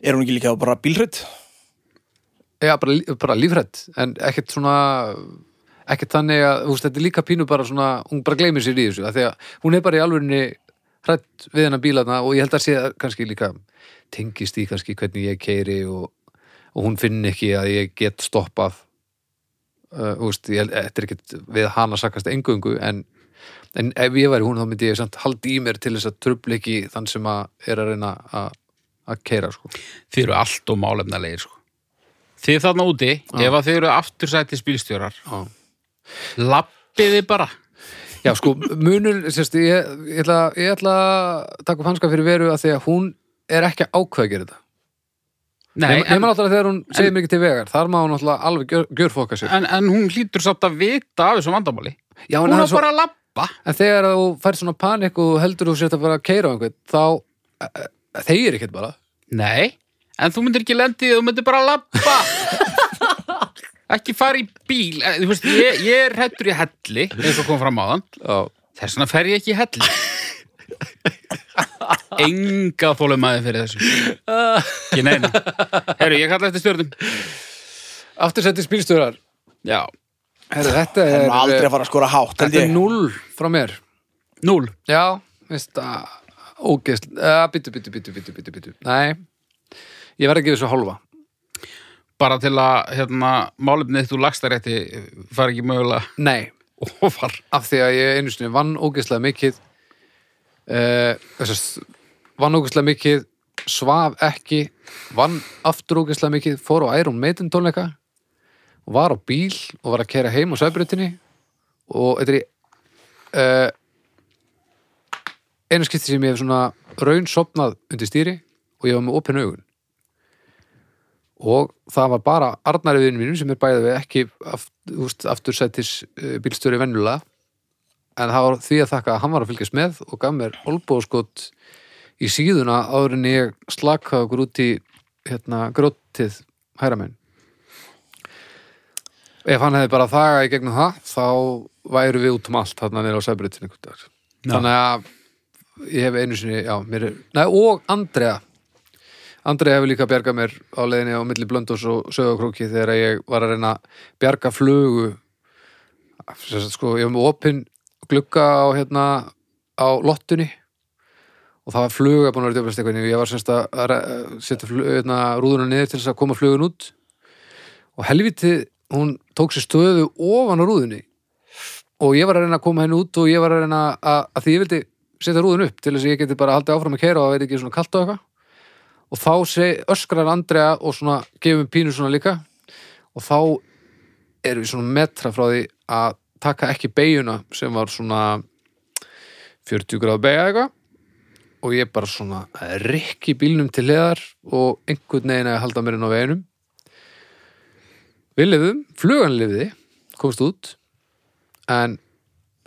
[SPEAKER 2] er hún ekki líka bara bílhrætt?
[SPEAKER 1] já, bara, lí- bara lífrætt en ekkert svona ekkert þannig að, þú veist, þetta er líka pínu bara svona hún bara gleymir sér í þessu af því að hún er bara í alvörinni hrætt við hennar bílana og ég held að sé að kannski líka tengist í kannski hvernig ég keiri og, og hún finn ekki að ég get stoppað uh, þú veist, ég, held- þetta er ekkert við hana sakast engöngu en, en ef ég væri hún þá myndi ég samt haldi í mér til þess að trubli ekki þann sem að er að reyna að að keira sko.
[SPEAKER 3] Þið eru allt og málefnalegir, sko. Þið þarna úti, ef að þið eru aftursætis bílstjórar,
[SPEAKER 1] Já.
[SPEAKER 3] lappiði bara.
[SPEAKER 1] Já, sko, munur, sérst, ég, ég, ætla, ég ætla að taka upp hanska fyrir veru að því að hún er ekki að ákveða að gera þetta.
[SPEAKER 3] Nei,
[SPEAKER 1] Nema- Nema náttúrulega þegar hún segir mér ekki til vegar, þar má hún náttúrulega alveg gjör, gjörfóka sér.
[SPEAKER 3] en, en hún hlýtur samt að vita af þessum vandamáli.
[SPEAKER 1] Já,
[SPEAKER 3] Hún
[SPEAKER 1] en, það
[SPEAKER 3] á
[SPEAKER 1] er svo,
[SPEAKER 3] bara að lappa.
[SPEAKER 1] en þegar þú fær svona panik og heldur þú sér að bara að keira á einhvern, þá eh, eh, þegir ekkert bara.
[SPEAKER 3] Nei, en þú myndir ekki lendi því, þú myndir bara að lappa.
[SPEAKER 1] *laughs*
[SPEAKER 3] ekki fara í bíl. Eh, Þú veist, ég, ég er hættur í helli, eins og kom fram á þann.
[SPEAKER 1] Já,
[SPEAKER 3] Þess vegna fer ég ekki í helli. Enga þólumæði fyrir þessu. Ekki neina. Herru, ég kalla eftir stjórnum.
[SPEAKER 1] aftur settið spýrstjórar.
[SPEAKER 3] Já.
[SPEAKER 1] Herru, þetta
[SPEAKER 2] Það
[SPEAKER 1] er,
[SPEAKER 2] er aldrei að
[SPEAKER 1] eh,
[SPEAKER 2] fara að skora hátt, held
[SPEAKER 1] þetta er
[SPEAKER 2] ég.
[SPEAKER 1] null frá mér.
[SPEAKER 3] Núl.
[SPEAKER 1] Já, veist að ógeðsl, að byttu, byttu, byttu, byttu, byttu, byttu. Nei, ég verð að gefa þessu hálfa.
[SPEAKER 3] Bara til að hérna, málefnið þú lagstarétti fara ekki mögulega
[SPEAKER 1] Nei,
[SPEAKER 3] ofar.
[SPEAKER 1] af því að ég einu sinni vann ógeðslega mikið uh, þessast, vann ógeðslega mikið svaf ekki vann aftur ógeðslega mikið fór á Iron Maiden tónleika og var á bíl og var að kera heim á sæbrutinni og þetta er í uh, einu skipti sem ég hef svona raun sopnað undir stýri og ég var með opinn augun og það var bara Arnari viðin mínum sem er bæðið við ekki aftur, úst, aftur sættis eh, bílstjóri vennulega en það var því að þakka að hann var að fylgjast með og gaf mér olbóðskot í síðuna áður en ég slakaði okkur út í hérna, grótið hæra minn ef hann hefði bara þaga í gegnum það þá væru við út um allt þarna niður á sæbrytin einhvern dag
[SPEAKER 3] Já.
[SPEAKER 1] þannig að ég hef einu sinni já, mér er, nei, og Andrea Andrei hefur líka bjargað mér á leiðinni á milli blöndós og sögakróki þegar ég var að reyna að bjarga flugu Sem sagt, sko, ég var með opinn glugga á hérna á lottunni og það var fluga búin að vera djöflast eitthvað og ég var semst að- að re- setja flug, hérna, rúðuna niður til þess að koma flugun út og helviti hún tók sér stöðu ofan á rúðunni og ég var að reyna að koma henni út og ég var að reyna að, að því ég vildi setja rúðun upp til þess að ég geti bara haldið áfram að keira og það veit ekki svona kalt og eitthvað og þá seg, öskrar Andrea og svona gefum pínu svona líka og þá erum við svona metra frá því að taka ekki beiguna sem var svona 40 gráð bega eitthvað og ég bara svona rikki bílnum til hliðar og einhvern veginn að halda mér inn á veginum Við lifðum, flugan lifði komst út en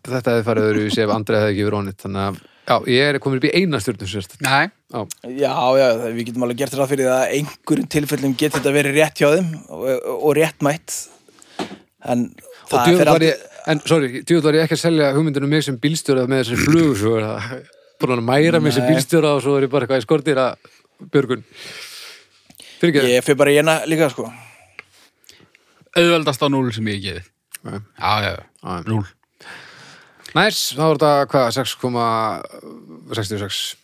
[SPEAKER 1] þetta hefði farið öðru ef Andrið hefði ekki verið onnit þannig að já, ég er komin upp í eina stjórnum sérst
[SPEAKER 3] Nei,
[SPEAKER 2] Já, já, það- við getum alveg gert ráð fyrir það að einhverjum tilfellum getur þetta verið rétt hjá þeim og, og rétt mætt en
[SPEAKER 1] og
[SPEAKER 2] það
[SPEAKER 1] djúvel
[SPEAKER 2] fer
[SPEAKER 1] var
[SPEAKER 2] aldrei
[SPEAKER 1] ég en sorry, djúvel var ég ekki að selja hugmyndinu mig sem bílstjóra með þessari flugu svo er það búin að mæra mig sem
[SPEAKER 2] Nei.
[SPEAKER 1] bílstjóra og svo er ég bara eitthvað í skortir að björgun fyrir ekki
[SPEAKER 2] ég fer bara í hérna líka sko
[SPEAKER 3] auðveldast á núl sem ég hef gefið.
[SPEAKER 1] Nei.
[SPEAKER 3] Já, já,
[SPEAKER 1] Já, já.
[SPEAKER 3] núl.
[SPEAKER 1] næs, þá er þetta hvað 6,66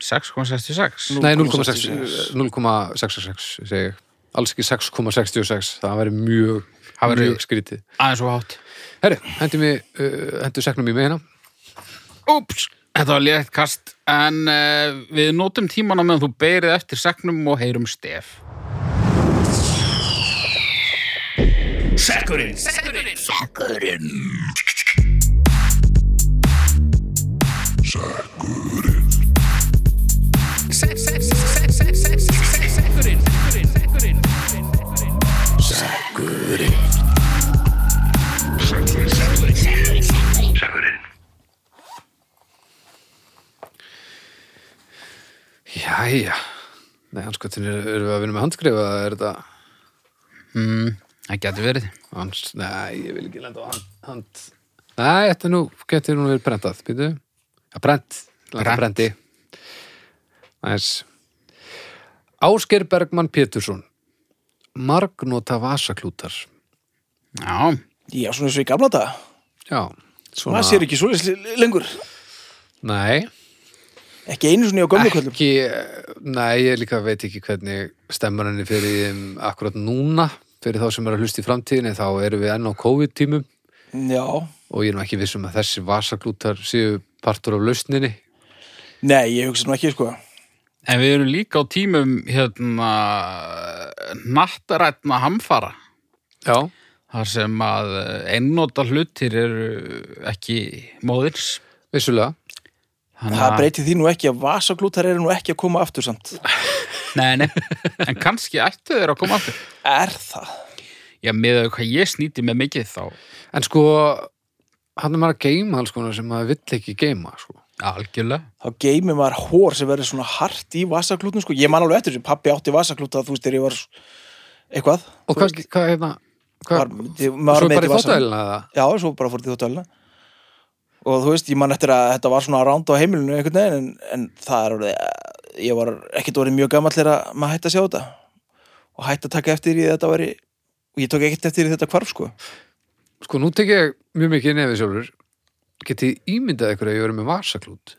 [SPEAKER 3] 6,66.
[SPEAKER 1] nei
[SPEAKER 2] 0,66.
[SPEAKER 1] 0,66 0,66 segi ég alls ekki 6,66 það væri mjög,
[SPEAKER 3] Það væri-
[SPEAKER 1] mjög skrítið
[SPEAKER 3] Aðeins og hátt.
[SPEAKER 1] herri, hendur mig uh, hendur seknum í mig hérna
[SPEAKER 3] Úps, þetta var létt kast en uh, við notum tímana meðan þú beirið eftir segnum og heyrum stef.
[SPEAKER 1] jæja nei, hanskotin er, erum við að vinna með handskrifa eða er þetta
[SPEAKER 3] Það getur verið.
[SPEAKER 1] hans, nei, ég vil ekki lenda á hand, hand. nei, þetta nú getur nú verið prentað, býtu að brent, landa
[SPEAKER 3] Brent.
[SPEAKER 1] brendi næs Ásker Bergmann Pétursson margnota vasaklútar
[SPEAKER 3] Já,
[SPEAKER 2] Já, svona svo í gamla daga
[SPEAKER 1] já, svona
[SPEAKER 2] maður sér ekki svo lengur
[SPEAKER 1] nei,
[SPEAKER 2] ekki einu svona í á gömlu kvöldum
[SPEAKER 1] ekki, nei, ég líka veit ekki hvernig stemmar henni fyrir þeim akkurat núna, fyrir þá sem er að hlusta í framtíðinni, þá erum við enn á COVID-tímum
[SPEAKER 2] Já,
[SPEAKER 1] og ég er nú ekki vissum að þessi vasaklútar séu partur af lausninni
[SPEAKER 2] nei, ég hugsa nú ekki sko
[SPEAKER 3] en við erum líka á tímum hérna nattarætna hamfara
[SPEAKER 1] já,
[SPEAKER 3] þar sem að einnóta hlutir eru ekki móðins.
[SPEAKER 1] vissulega
[SPEAKER 2] það breytir því nú ekki að vasaglútar eru nú ekki að koma aftur samt
[SPEAKER 3] Nei, nei, en kannski ættu þeir að koma aftur.
[SPEAKER 2] er það?
[SPEAKER 3] Já, með að hvað ég snýti með mikið þá
[SPEAKER 1] En sko, hann er maður að geima alls konar sem maður vill ekki geima, sko.
[SPEAKER 3] algjörlega.
[SPEAKER 2] þá geymir maður hór sem verður svona hart í vasaklútum sko. ég man alveg eftir þessu, pappi átti vasaklúta þú veist, þegar ég var s- eitthvað
[SPEAKER 1] Og
[SPEAKER 2] þú
[SPEAKER 1] hvað, hvað hérna, hvað,
[SPEAKER 2] var, þið, maður
[SPEAKER 1] svo
[SPEAKER 2] var
[SPEAKER 1] bara
[SPEAKER 2] með
[SPEAKER 1] í
[SPEAKER 2] þetta í vasaklúta
[SPEAKER 1] þóttælina eða?
[SPEAKER 2] já, svo bara fór þetta í þóttöluna og þú veist, ég man eftir að þetta var svona ránd á heimilinu einhvern veginn, en, en það er orðið eh, ég var ekkert orðið mjög gamall þegar að maður hætti að sjá þetta og hætti að taka eftir í þetta væri og ég tók ekkert eftir í þetta hvarf sko
[SPEAKER 1] Sko, nú tek ég mjög mikið nefið sjálfur. Getið ímyndað ykkur að ég verið með vasaklút?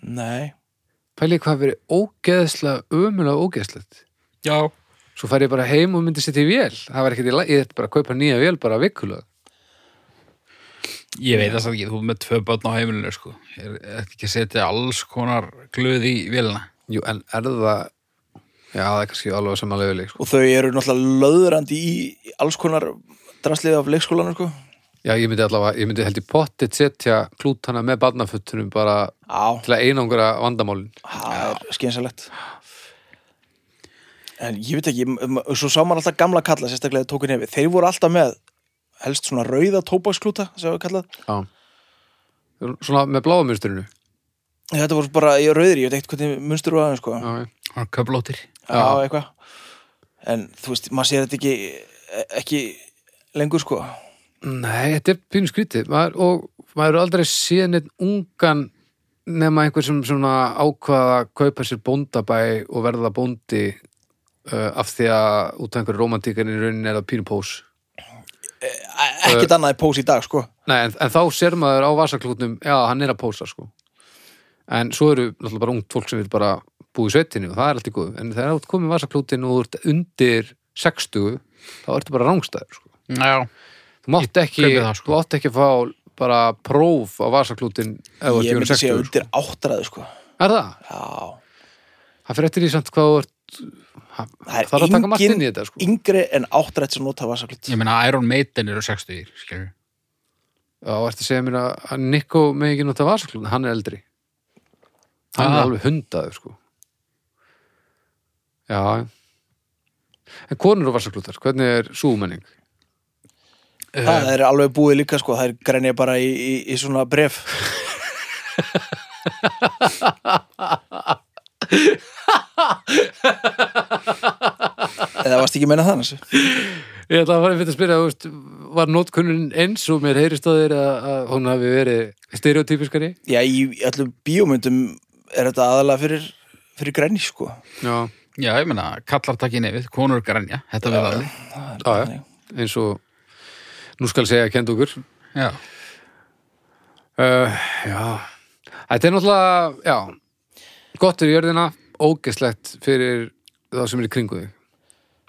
[SPEAKER 2] nei,
[SPEAKER 1] Pælið hvað verið ógeðslega, ömulega ógeðslegt.
[SPEAKER 3] Já.
[SPEAKER 1] Svo fær ég bara heim og myndi setja í vél. Það var ekkert í lagi, ég ætti bara að kaupa nýja vél bara vikulega.
[SPEAKER 3] Ég veit það samt ekki, þú ert með tvö börn á heimilinu sko. Er er ekki að setja alls konar glöð í vélina.
[SPEAKER 1] Jú, en er það, já, það er kannski alveg samanlega sko.
[SPEAKER 2] og þau eru náttúrulega löðrandi í í alls konar draslið af leikskólanum sko
[SPEAKER 1] Já, ég myndi allavega, ég myndi held í pottet setja klútana með barnafuttunum bara
[SPEAKER 2] á,
[SPEAKER 1] til að einangra vandamálin.
[SPEAKER 2] það er skynsalegt en ég veit ekki m- m- svo sá maður alltaf gamla kalla sérstaklega þeir tóku nefið, þeir voru alltaf með helst svona rauða tóbaksklúta sem við kallað,
[SPEAKER 1] Já. Svona með bláa munsturinu.
[SPEAKER 2] þetta voru bara í rauðir ég veit ekkert hvernig munstur var aðeins sko já,
[SPEAKER 1] Já, já.
[SPEAKER 3] Hann er köflóttir.
[SPEAKER 2] eitthvað en þú veist, maður sér þetta ekki ekki lengur sko
[SPEAKER 1] Nei, þetta er pínu skrítið. Maður, og maður er aldrei séð neitt ungan nema einhver sem svona ákvaða að kaupa sér bóndabæ og verða bóndi uh, af því að út af einhverju romantíkarinn í rauninni er það pínu pós.
[SPEAKER 2] E- ekkert annað er pós í dag sko
[SPEAKER 1] Nei, en, en þá sér maður á vasaklútnum, já, hann er að pósa, sko. En svo eru náttúrulega bara ungt fólk sem vil bara búa í sveitinu og það er allt í góð. En þegar þú ert komið vasaklútin og þú ert undir 60, þá ertu bara rángstæður, sko.
[SPEAKER 3] Já.
[SPEAKER 1] Þú mátt ekki,
[SPEAKER 3] kaupi það, sko.
[SPEAKER 1] þú mátt ekki fá bara próf á vasaklútin ef þú ert
[SPEAKER 2] ég
[SPEAKER 1] yfir
[SPEAKER 2] myndi sé
[SPEAKER 1] 60.
[SPEAKER 2] undir áttræðu sko
[SPEAKER 1] Sko. Er það?
[SPEAKER 2] já,
[SPEAKER 1] Það fyrir eftir í samt hvað þú ert það,
[SPEAKER 2] Það er
[SPEAKER 1] það er að taka margt
[SPEAKER 2] engin-
[SPEAKER 1] inn í þetta sko.
[SPEAKER 2] yngri en áttrætt sem nota vasaklut
[SPEAKER 3] Ég meina Iron Maiden eru 60, skilur.
[SPEAKER 1] Já, ertu að segja mér að að Nikko með ekki nota vasaklun, hann er eldri Hann
[SPEAKER 3] Ah.
[SPEAKER 1] er alveg hundaður, sko Já En konur og vasaklutar, hvernig er súmenning? Eh.
[SPEAKER 2] Það er alveg búið líka sko, það er grænja bara í, í, í svona bref Eða varst ekki að meina það hans
[SPEAKER 1] Ég ætla að fara fyrir að spyrja, þú veist, var notkunnin eins og mér heyrist á þér að, að hún hafi verið stereotypiskari?
[SPEAKER 2] Já, í öllum bíómyndum er þetta aðalega fyrir, fyrir grænji sko
[SPEAKER 1] Já,
[SPEAKER 3] Já, ég meina, kallar takk í nefið, konur grænja, þetta verða alveg.
[SPEAKER 2] Það er
[SPEAKER 1] já,
[SPEAKER 2] bara
[SPEAKER 1] já.
[SPEAKER 2] þannig.
[SPEAKER 1] eins og nú skal segja kend okkur
[SPEAKER 3] Já,
[SPEAKER 1] Uh, já, þetta er náttúrulega, já, gott er jörðina, ógeslegt fyrir það sem er í kringu þig.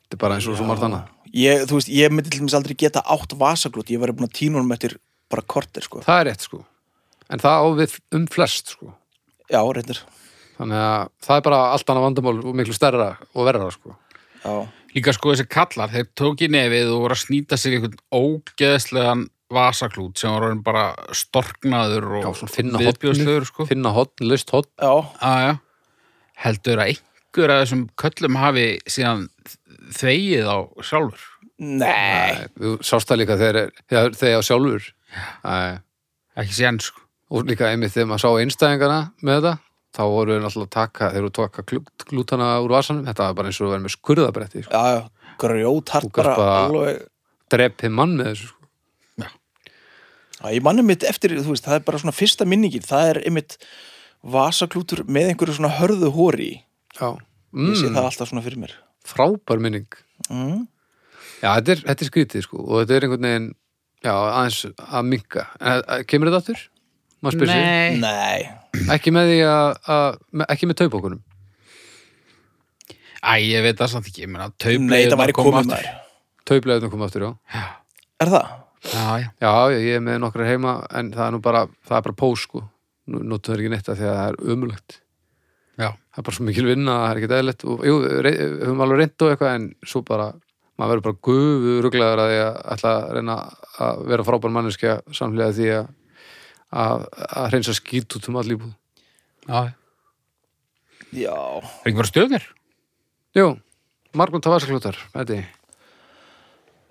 [SPEAKER 1] Þetta er bara eins og svo margt annað.
[SPEAKER 2] Ég, þú veist, ég myndi til dæmis aldrei geta átt vasaglút Ég var búin að tína honum eftir bara kortir sko
[SPEAKER 1] Það er rétt, sko. En það á við um flest, sko.
[SPEAKER 2] Já, reyndar
[SPEAKER 1] Þannig að það er bara allt annað vandamál og miklu stærra og verra, sko.
[SPEAKER 2] Já,
[SPEAKER 3] líka sko þessi kallar, þeir tók í nefið og voru að snýta sér í einhvern ógeðslegan vasaklút sem var orðin bara storknaður og
[SPEAKER 1] Já, svona finna
[SPEAKER 3] viðbjóðslegur, sko.
[SPEAKER 1] Finna hotn, list hotn.
[SPEAKER 2] já,
[SPEAKER 3] Aja. Heldur að einhver að þessum köllum hafi síðan þvegið á sjálfur.
[SPEAKER 2] nei
[SPEAKER 1] Þú sást það líka þegar, þegar, þegar sjálfur. Æ,
[SPEAKER 3] Ekki síðan, sko.
[SPEAKER 1] og líka einmitt þegar maður sá einstæðingana með þetta, þá voru við náttúrulega að taka, þeir voru að taka glú- glútana úr vasanum, þetta var bara eins og að vera með skurðabretti, sko.
[SPEAKER 2] Já, já, grjóthart
[SPEAKER 1] Þú gast
[SPEAKER 2] bara
[SPEAKER 1] bara-
[SPEAKER 2] alveg
[SPEAKER 1] drepi mann með þessu sko.
[SPEAKER 2] Já, ég manna mitt eftir, þú veist, það er bara svona fyrsta minningin, það er einmitt vasaklútur með einhverju svona hörðu hóri í.
[SPEAKER 1] Já.
[SPEAKER 2] ég sé
[SPEAKER 1] Mm,
[SPEAKER 2] það alltaf svona fyrir mér
[SPEAKER 1] frábær minning
[SPEAKER 2] mm.
[SPEAKER 1] Já, þetta er, þetta er skrítið sko og þetta er einhvern veginn já, aðeins að minka en, að, Kemur þetta aftur? Maður spyr sig.
[SPEAKER 3] Nei.
[SPEAKER 2] Nei,
[SPEAKER 1] Ekki með því að, að með, ekki með taupokunum
[SPEAKER 3] Æ, ég veit það samt ekki. Ég meina,
[SPEAKER 2] nei,
[SPEAKER 3] taubleiðurnar
[SPEAKER 2] það væri
[SPEAKER 3] koma
[SPEAKER 2] komið
[SPEAKER 3] aftur.
[SPEAKER 2] maður
[SPEAKER 1] Taupleðunum kom aftur, já
[SPEAKER 2] Er það?
[SPEAKER 3] Já, já.
[SPEAKER 1] Já, já, ég er með nokkrar heima en það er nú bara, það er bara pós sko Nú notum það ekki neitt af því að það er ömulegt
[SPEAKER 3] Já.
[SPEAKER 1] Það er bara svo mikil vinna, það er ekki eðlilegt og jú, rey, við höfum alveg reynd og eitthvað en svo bara, maður verður bara gufu ruglaður að því að ætla að reyna að vera frábær manneskja samlega því að að, að reynsa skýt út um all íbúð
[SPEAKER 3] Já, já.
[SPEAKER 2] Já,
[SPEAKER 3] Er ekki bara stjórnir?
[SPEAKER 1] Jú, Margrún Tavasaklútar, þetta er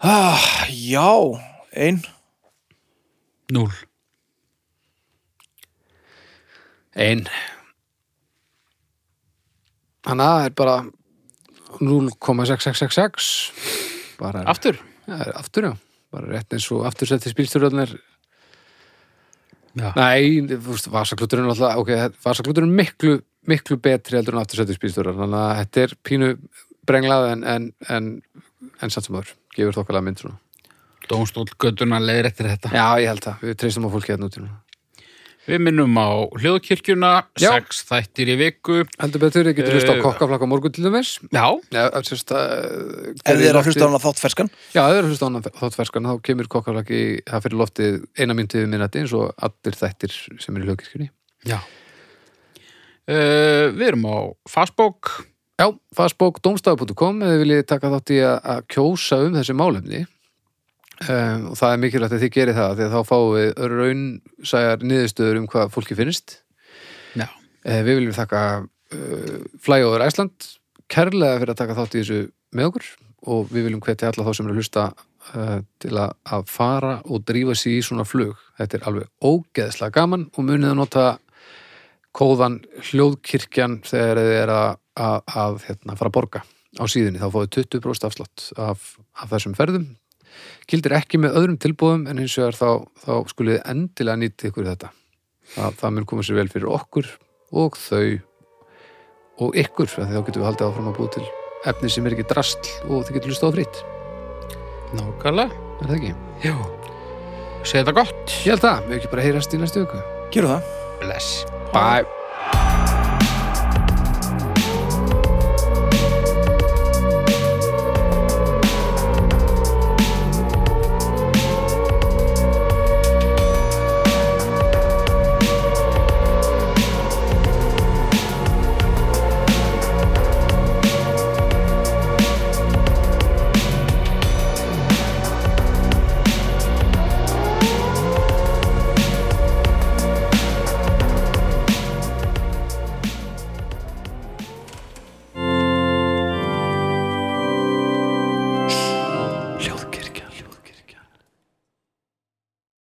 [SPEAKER 2] ah, já, ein
[SPEAKER 3] Núl.
[SPEAKER 1] Ein Þannig að það er bara 0,6666 bara er,
[SPEAKER 3] Aftur?
[SPEAKER 1] ja, er aftur já bara rétt eins og aftursetti spilstjórnarnir
[SPEAKER 3] Já.
[SPEAKER 1] Nei, þú veist, vasakluturinn er alltaf, ok, vasakluturinn er miklu, miklu betri heldur en aftursættu spýrstjórar, þannig að þetta er pínu brenglað en, en, en, en samt sem aður, gefur þokkalega mynd svona.
[SPEAKER 3] Dómstól göttuna leiðir eftir þetta.
[SPEAKER 1] Já, ég held það, við treystum á fólki hérna út í núna.
[SPEAKER 3] Við minnum á hljóðkirkjuna,
[SPEAKER 1] Já.
[SPEAKER 3] sex þættir í viku.
[SPEAKER 1] Heldur betur, ég getur hlusta á
[SPEAKER 3] Eh,
[SPEAKER 1] kokkaflakka á morgun til dæmis.
[SPEAKER 3] Já.
[SPEAKER 1] Já, sérst að...
[SPEAKER 2] Er þið að hlusta á hana þátt ferskan?
[SPEAKER 1] Já, ef þið er að hlusta á hana þáttferskan, þá kemur kokkaflakki, það fyrir loftið eina myndið við minnati eins og allir þættir sem eru í hljókirkjunni.
[SPEAKER 3] Já. Uh, við erum á Fastbók.
[SPEAKER 1] Já, fastbókdómstaf.com eða viljið taka þátt í að, að kjósa um þessi málefni um, og það er mikilvægt að þið gerir það því að þá fáum við raunsæjar niðurstöður um hvað fólki finnst
[SPEAKER 3] Já.
[SPEAKER 1] eh, Við viljum þakka uh, Flyover Æsland kærlega fyrir að taka þátt í þessu með okkur og við viljum hvetja alla þá sem eru að hlusta uh, til að, að fara og drífa sig í svona flug Þetta er alveg ógeðslega gaman og munið að nota kóðan hljóðkirkjan þegar þið er að, að, að hérna, fara að borga á síðunni, þá fóðu 20% afslátt af, af þessum ferðum gildir ekki með öðrum tilbúðum en hins vegar þá, þá skulið þið endilega nýta ykkur þetta það, það mun koma sér vel fyrir okkur og þau og ykkur, af því þá getum við haldið áfram að búið til efni sem er ekki drastl og þið getur hlustað á fritt,
[SPEAKER 3] Nákvæmlega.
[SPEAKER 1] er það ekki?
[SPEAKER 3] Já. Segðu þetta gott.
[SPEAKER 1] Ég held það, við ekki bara heyrast í næstu viku
[SPEAKER 2] Gerðu það
[SPEAKER 3] Bless.
[SPEAKER 1] Bye!